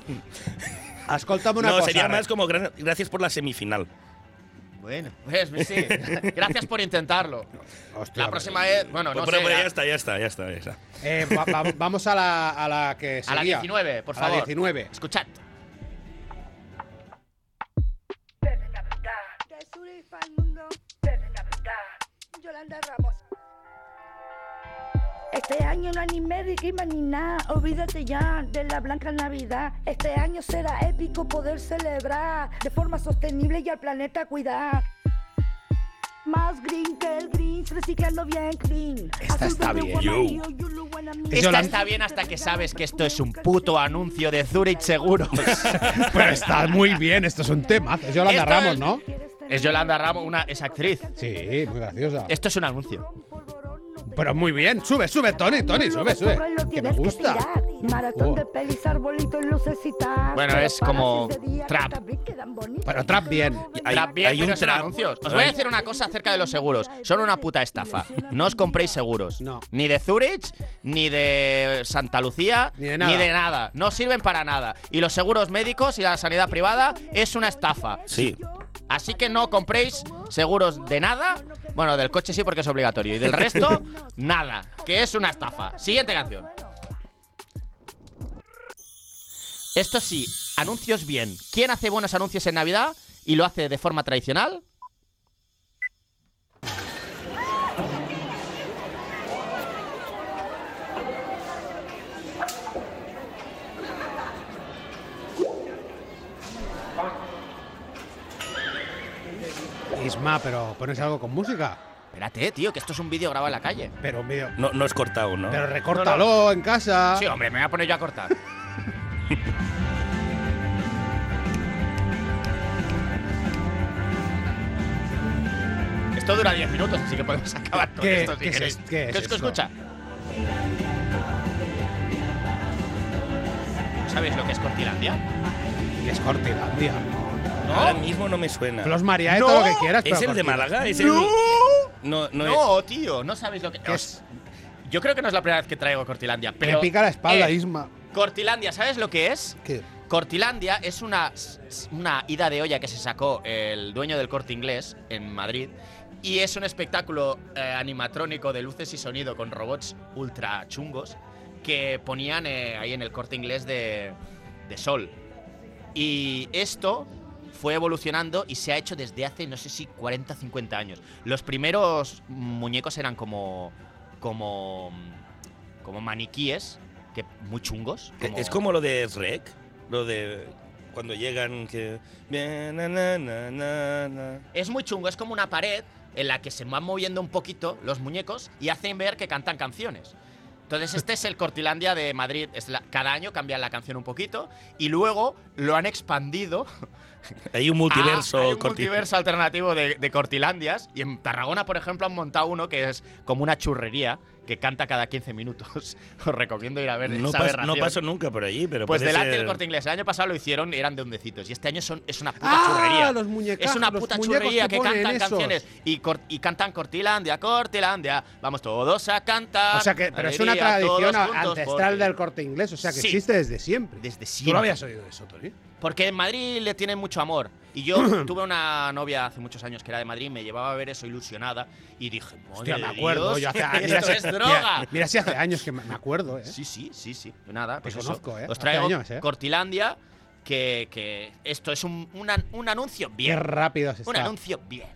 Speaker 1: Ascoltame una
Speaker 9: no,
Speaker 1: cosa.
Speaker 9: sería
Speaker 1: Re-
Speaker 9: más como gra- gracias por la semifinal.
Speaker 2: Bueno, pues sí. Gracias por intentarlo.
Speaker 1: Hostia,
Speaker 2: la próxima vez, bueno, no
Speaker 9: Pero- pero
Speaker 2: sé,
Speaker 9: Pues ya
Speaker 2: la-
Speaker 9: está, ya está, ya está. ya está.
Speaker 1: Eh, va- va- vamos a la, a la que
Speaker 2: a
Speaker 1: sería.
Speaker 2: la 19, por
Speaker 1: A
Speaker 2: favor.
Speaker 1: la 19.
Speaker 2: Escuchad.
Speaker 10: De Zurich al mundo, desde la verdad. Yolanda Ramos. Este año no hay ni Merry ni nada, olvídate ya de la blanca Navidad. Este año será épico poder celebrar de forma sostenible y al planeta cuidar. Más green que el green, reciclando bien clean.
Speaker 2: Esta está
Speaker 10: verde,
Speaker 2: bien.
Speaker 10: guamayo,
Speaker 2: Yo.
Speaker 10: yellow, guanamí.
Speaker 2: Esta está bien hasta que sabes que esto es un puto anuncio de Zurich Seguros.
Speaker 1: Pero está muy bien, esto es un tema. Es Yolanda
Speaker 2: Esto
Speaker 1: Ramos,
Speaker 2: es-
Speaker 1: ¿no?
Speaker 2: Es Yolanda Ramos, una, es actriz.
Speaker 1: Sí, muy graciosa.
Speaker 2: Esto es un anuncio.
Speaker 1: Pero muy bien, sube, sube, Tony, Tony, sube, sube.
Speaker 10: Sobre lo
Speaker 1: Que me
Speaker 10: tienes
Speaker 1: gusta.
Speaker 10: tirar.
Speaker 14: Maratón
Speaker 1: Oh.
Speaker 14: de pelis, arbolitos, lucecitas.
Speaker 2: Bueno,
Speaker 14: Pero
Speaker 2: es como
Speaker 14: parajes de día que
Speaker 2: trap.
Speaker 14: también quedan bonitos.
Speaker 1: Pero trap bien.
Speaker 2: Hay, bien,
Speaker 1: hay
Speaker 2: pero
Speaker 1: un
Speaker 2: son
Speaker 1: trap.
Speaker 2: anuncios. Os voy a decir una cosa acerca de los seguros. Son una puta estafa. No os compréis seguros. Ni de Zurich, ni de Santa Lucía, ni de,
Speaker 1: nada.
Speaker 2: nada. No sirven para nada. Y los seguros médicos y la sanidad privada es una estafa.
Speaker 9: Sí.
Speaker 2: Así que no compréis seguros de nada. Bueno, del coche sí porque es obligatorio. Y del resto, nada. Que es una estafa. Siguiente canción. Esto sí, anuncios bien. ¿Quién hace buenos anuncios en Navidad y lo hace de forma tradicional?
Speaker 1: Isma, pero pones algo con música.
Speaker 2: Espérate, tío, que esto es un vídeo grabado en la calle.
Speaker 1: Pero un vídeo.
Speaker 9: No, no es cortado, ¿no?
Speaker 1: Pero recórtalo en casa.
Speaker 2: Sí, hombre, me voy a poner yo a cortar. Esto dura 10 minutos, así que podemos acabar con
Speaker 1: ¿Qué-
Speaker 2: esto si
Speaker 1: qué es
Speaker 2: queréis.
Speaker 1: es- qué es
Speaker 2: ¿Qué os-
Speaker 1: esto?
Speaker 2: qué escucha? ¿Sabéis lo que es Cortilandia?
Speaker 1: Es Cortilandia.
Speaker 9: Ahora mismo no me suena.
Speaker 1: Los María, eh, todo lo que quieras,
Speaker 9: ¿Es
Speaker 1: pero
Speaker 9: el de
Speaker 1: cortito.
Speaker 9: Málaga? ¿Es
Speaker 1: ¡No!
Speaker 9: el- No, no,
Speaker 2: No, tío, no sabéis lo que os- Yo creo que no es la primera vez que traigo Cortilandia,
Speaker 1: Me
Speaker 2: pero
Speaker 1: pica la espalda,
Speaker 2: eh,
Speaker 1: Isma.
Speaker 2: Cortilandia, ¿sabes lo que es?
Speaker 1: ¿Qué?
Speaker 2: Cortilandia es una, una ida de olla que se sacó el dueño del corte inglés en Madrid. Y es un espectáculo eh, animatrónico de luces y sonido con robots ultra chungos que ponían eh, ahí en el corte inglés de, de Sol. Y esto fue evolucionando y se ha hecho desde hace, no sé si 40 o 50 años. Los primeros muñecos eran como. como. como maniquíes, que muy chungos.
Speaker 9: Es- Es como lo de Shrek, lo de cuando llegan que... Bien, na, na, na, na, na.
Speaker 2: Es muy chungo, es como una pared en la que se van moviendo un poquito los muñecos y hacen ver que cantan canciones. Entonces este es el Cortilandia de Madrid. Es la- cada año cambian la canción un poquito y luego lo han expandido.
Speaker 9: Hay un multiverso.
Speaker 2: Ah, hay un
Speaker 9: corti-
Speaker 2: multiverso alternativo de, de Cortilandias. Y en Tarragona, por ejemplo, han montado uno que es como una churrería que canta cada 15 minutos. Os recomiendo ir a ver
Speaker 9: No,
Speaker 2: esa
Speaker 9: pas- no
Speaker 2: aberración.
Speaker 9: paso nunca por allí, pero
Speaker 2: Pues
Speaker 9: puede
Speaker 2: delante
Speaker 9: ser-
Speaker 2: del corte inglés. El año pasado lo hicieron y eran de hondecitos. Y este año son, es una puta
Speaker 1: Ah,
Speaker 2: churrería.
Speaker 1: los muñecas-
Speaker 2: es una
Speaker 1: los
Speaker 2: puta
Speaker 1: muñecos
Speaker 2: churrería
Speaker 1: que
Speaker 2: que,
Speaker 1: ponen
Speaker 2: cantan
Speaker 1: esos.
Speaker 2: canciones y, cor- y cantan Cortilandia, Cortilandia. Vamos todos a cantar.
Speaker 1: O sea que, pero es una
Speaker 2: Alegría, todos
Speaker 1: tradición
Speaker 2: juntos,
Speaker 1: ancestral
Speaker 2: porque-
Speaker 1: del corte inglés, o sea que
Speaker 2: Sí.
Speaker 1: existe desde siempre.
Speaker 2: Desde
Speaker 1: ¿Tú
Speaker 2: siempre.
Speaker 1: lo habías oído eso, Tony?
Speaker 2: Porque en Madrid le tienen mucho amor. Y yo tuve una novia hace muchos años que era de Madrid, me llevaba a ver eso ilusionada y dije, madre
Speaker 1: Hostia, me
Speaker 2: de
Speaker 1: acuerdo.
Speaker 2: Dios,
Speaker 1: yo hace-
Speaker 2: esto
Speaker 1: si-
Speaker 2: es droga.
Speaker 1: Mira, eh. mira si hace años que me me acuerdo, ¿eh?
Speaker 2: Sí, sí, sí, sí. Nada, pues
Speaker 1: Te
Speaker 2: eso.
Speaker 1: conozco, ¿eh?
Speaker 2: Os
Speaker 1: Hace
Speaker 2: traigo
Speaker 1: años, ¿eh?
Speaker 2: Cortilandia, que, que esto es un, un an- un anuncio bien.
Speaker 1: Qué rápido se
Speaker 2: Un
Speaker 1: está.
Speaker 2: anuncio bien.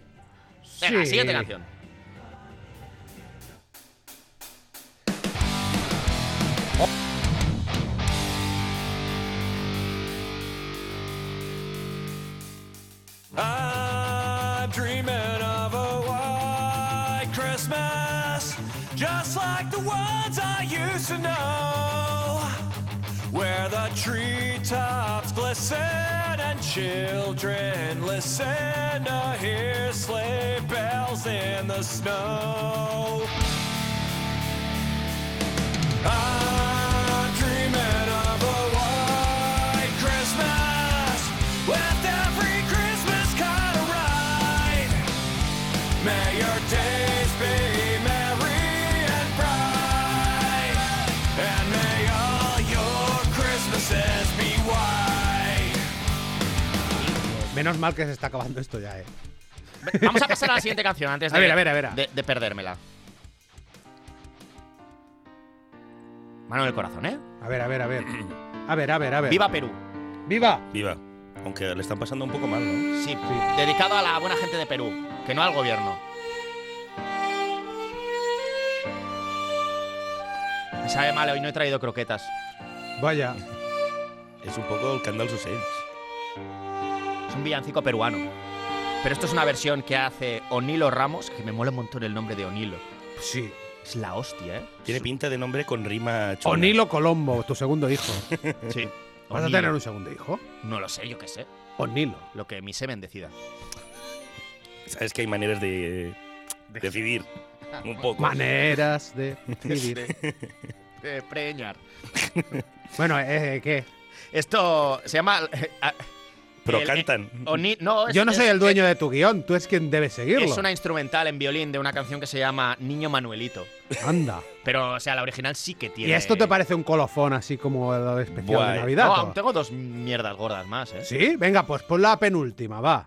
Speaker 2: Venga,
Speaker 1: Sí.
Speaker 2: siguiente canción.
Speaker 15: I'm dreaming of a white Christmas, just like the ones I used to know, where the treetops glisten and children listen to hear sleigh bells in the snow. I'm dreaming of a white Christmas with every Christmas card a ride. May your days be merry and bright, and may all your Christmases be white.
Speaker 1: Menos mal que se está acabando esto ya, ¿eh?
Speaker 2: Vamos a pasar a la siguiente canción antes de,
Speaker 1: A ver, a ver, a ver.
Speaker 2: de- de perdérmela. Mano en el corazón, ¿eh?
Speaker 1: A ver, a ver, a ver. A ver, a ver, a ver.
Speaker 2: Viva Perú.
Speaker 1: ¡Viva!
Speaker 9: Viva. Aunque le están pasando un poco mal, ¿no?
Speaker 2: Sí, dedicado a la buena gente de Perú, que no al gobierno. Me sabe mal, hoy no he traído croquetas.
Speaker 1: Vaya.
Speaker 9: Es un poco el Candal Sussex.
Speaker 2: Es un villancico peruano. Pero esto es una versión que hace Onilo Ramos, que me mola un montón el nombre de Onilo.
Speaker 1: Sí.
Speaker 2: Es la hostia, ¿eh?
Speaker 9: Tiene pinta de nombre con rima chula.
Speaker 1: Onilo Colombo, tu segundo hijo.
Speaker 2: Sí.
Speaker 1: ¿Vas a
Speaker 2: Onilo.
Speaker 1: tener un segundo hijo?
Speaker 2: No lo sé, yo qué sé.
Speaker 1: Onilo.
Speaker 2: Lo que mi semen decida.
Speaker 9: Sabes que hay maneras de de decidir. Un poco.
Speaker 1: Maneras de vivir.
Speaker 2: De preñar.
Speaker 1: Bueno, eh, ¿qué?
Speaker 2: Esto se llama. eh, ah,
Speaker 9: Pero
Speaker 2: el- eh,
Speaker 9: cantan.
Speaker 2: Oni- no, es-
Speaker 1: Yo no soy
Speaker 2: es-
Speaker 1: el dueño de tu guión, tú es quien debe seguirlo.
Speaker 2: Es una instrumental en violín de una canción que se llama Niño Manuelito.
Speaker 1: Anda.
Speaker 2: Pero, o sea, la original sí que tiene.
Speaker 1: ¿Y esto te parece un colofón así como el especial de Navidad?
Speaker 2: No,
Speaker 1: o?
Speaker 2: aún tengo dos mierdas gordas más, ¿eh?
Speaker 1: Sí, venga, pues pon la penúltima, va.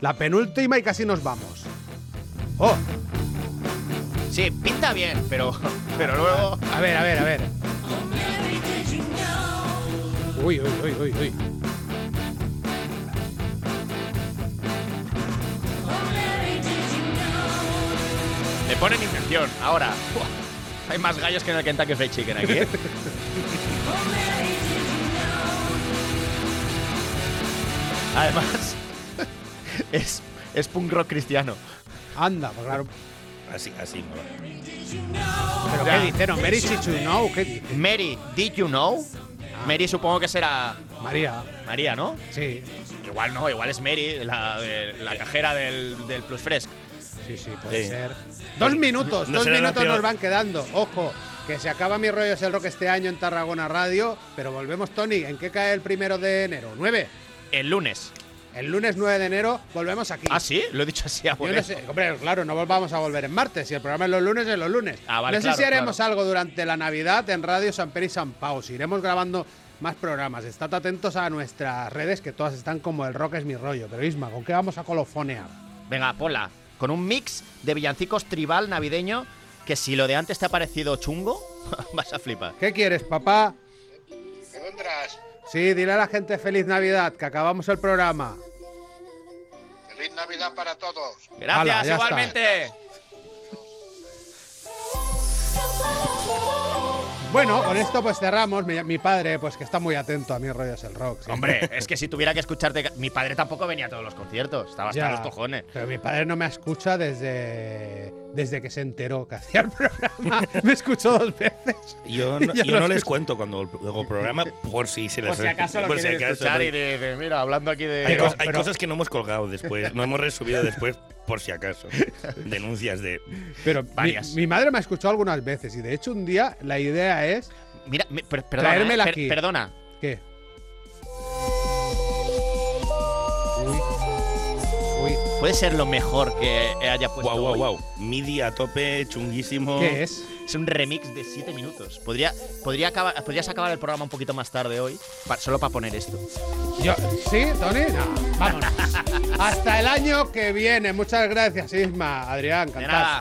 Speaker 1: La penúltima y casi nos vamos. ¡Oh!
Speaker 2: Sí, pinta bien, pero, pero luego.
Speaker 1: A ver, a ver, a ver. Uy, uy, uy, uy, uy.
Speaker 2: Le ponen intención. Ahora. ¡buah! Hay más gallos que en el Kentucky Fried Chicken aquí. ¿eh? Además, es, es punk rock cristiano.
Speaker 1: Anda, pues claro.
Speaker 9: Así, así.
Speaker 1: ¿Pero
Speaker 2: Ya.
Speaker 1: qué dijeron? Mary did you know? ¿Qué dice?
Speaker 2: Mary, did you know? Mary supongo que será.
Speaker 1: María.
Speaker 2: María, ¿no?
Speaker 1: Sí.
Speaker 2: Igual no, igual es Mary, la, eh, la cajera del, del Plus Fresc.
Speaker 1: Sí, sí, puede ser. Dos minutos,
Speaker 2: No
Speaker 1: dos
Speaker 2: será la
Speaker 1: minutos
Speaker 2: peor.
Speaker 1: nos van quedando. Ojo, que se acaba mi rollo es el rock este año en Tarragona Radio, pero volvemos, Tony. ¿En qué cae el primero de enero? ¿Nueve?
Speaker 2: El lunes.
Speaker 1: El lunes 9 de enero volvemos aquí.
Speaker 2: ¿Ah, sí? pues Lo he dicho así a
Speaker 1: Yo no sé, hombre, claro, no volvamos a volver en martes. Si el programa es los lunes, es los lunes.
Speaker 2: Ah, vale,
Speaker 1: no sé
Speaker 2: claro,
Speaker 1: si haremos algo durante la Navidad en Radio San Pere y San Pau. Si iremos grabando más programas. Estad atentos a nuestras redes, que todas están como el rock es mi rollo. Pero Isma, ¿con qué vamos a colofonear?
Speaker 2: Venga, ponla. Con un mix de villancicos tribal navideño que si lo de antes te ha parecido chungo, vas a flipar.
Speaker 1: ¿Qué quieres, papá? Sí, dile a la gente feliz Navidad, que acabamos el programa.
Speaker 16: Feliz Navidad para todos.
Speaker 1: Gracias, Hala, ya igualmente. Bueno, con esto pues cerramos. Mi, mi padre, pues que está muy atento a mi rollo es el rock. sí.
Speaker 2: Hombre, es que si tuviera que escucharte... ca- Mi padre tampoco venía a todos los conciertos, estaba hasta
Speaker 1: Ya,
Speaker 2: los cojones.
Speaker 1: Pero mi padre no me escucha desde, desde que se enteró que hacía el programa. me escuchó dos veces.
Speaker 9: Yo
Speaker 1: Y
Speaker 9: no,
Speaker 1: ya
Speaker 9: yo
Speaker 1: lo
Speaker 9: no les
Speaker 1: escucho.
Speaker 9: cuento cuando hago programa por si se les
Speaker 2: Por si acaso lo
Speaker 9: por si
Speaker 2: quieres
Speaker 9: acaso,
Speaker 2: escuchar
Speaker 9: ¿no?
Speaker 2: y de, de- mira, hablando aquí de...
Speaker 9: Hay, cos- hay cosas que no hemos colgado después, no hemos resubido después por si acaso. Denuncias de
Speaker 1: Pero mi- Mi, madre me ha escuchado algunas veces y de hecho un día la idea es
Speaker 2: Mira, mi- per- perdona,
Speaker 1: traérmela
Speaker 2: eh, per-
Speaker 1: aquí.
Speaker 2: perdona.
Speaker 1: ¿Qué? Uy.
Speaker 2: Puede ser lo mejor que haya
Speaker 1: Pues
Speaker 9: Guau,
Speaker 2: puesto.
Speaker 9: guau,
Speaker 1: ¿eh?
Speaker 2: hoy.
Speaker 9: guau. MIDI a tope, chunguísimo.
Speaker 2: ¿Qué es? Es un remix de 7 minutos. Podría, podría acabar, podrías acabar el programa un poquito más tarde hoy, pa- solo para poner esto.
Speaker 1: Yo, ¿Sí, Tony? No, vámonos. Hasta el año que viene. Muchas gracias, Isma, Adrián,
Speaker 2: De
Speaker 1: cantad.
Speaker 2: nada.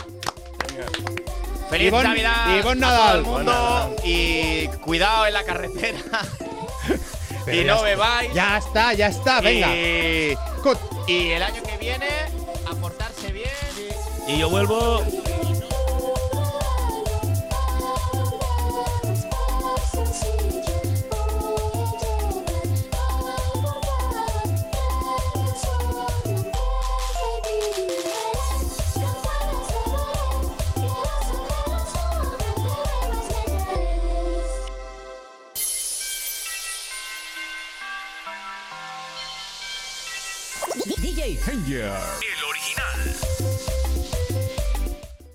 Speaker 2: Feliz
Speaker 1: Ivonne-
Speaker 2: Navidad
Speaker 1: Ivonne
Speaker 2: a todo el
Speaker 1: Nadal.
Speaker 2: mundo y cuidado en la carretera.
Speaker 1: Pero
Speaker 2: y
Speaker 1: ya
Speaker 2: no
Speaker 1: está.
Speaker 2: bebáis.
Speaker 1: Ya está, ya está, venga.
Speaker 2: Y,
Speaker 1: Cut.
Speaker 2: y el año que viene a portarse bien.
Speaker 9: Y yo vuelvo.
Speaker 17: DJ Danger.
Speaker 3: El original.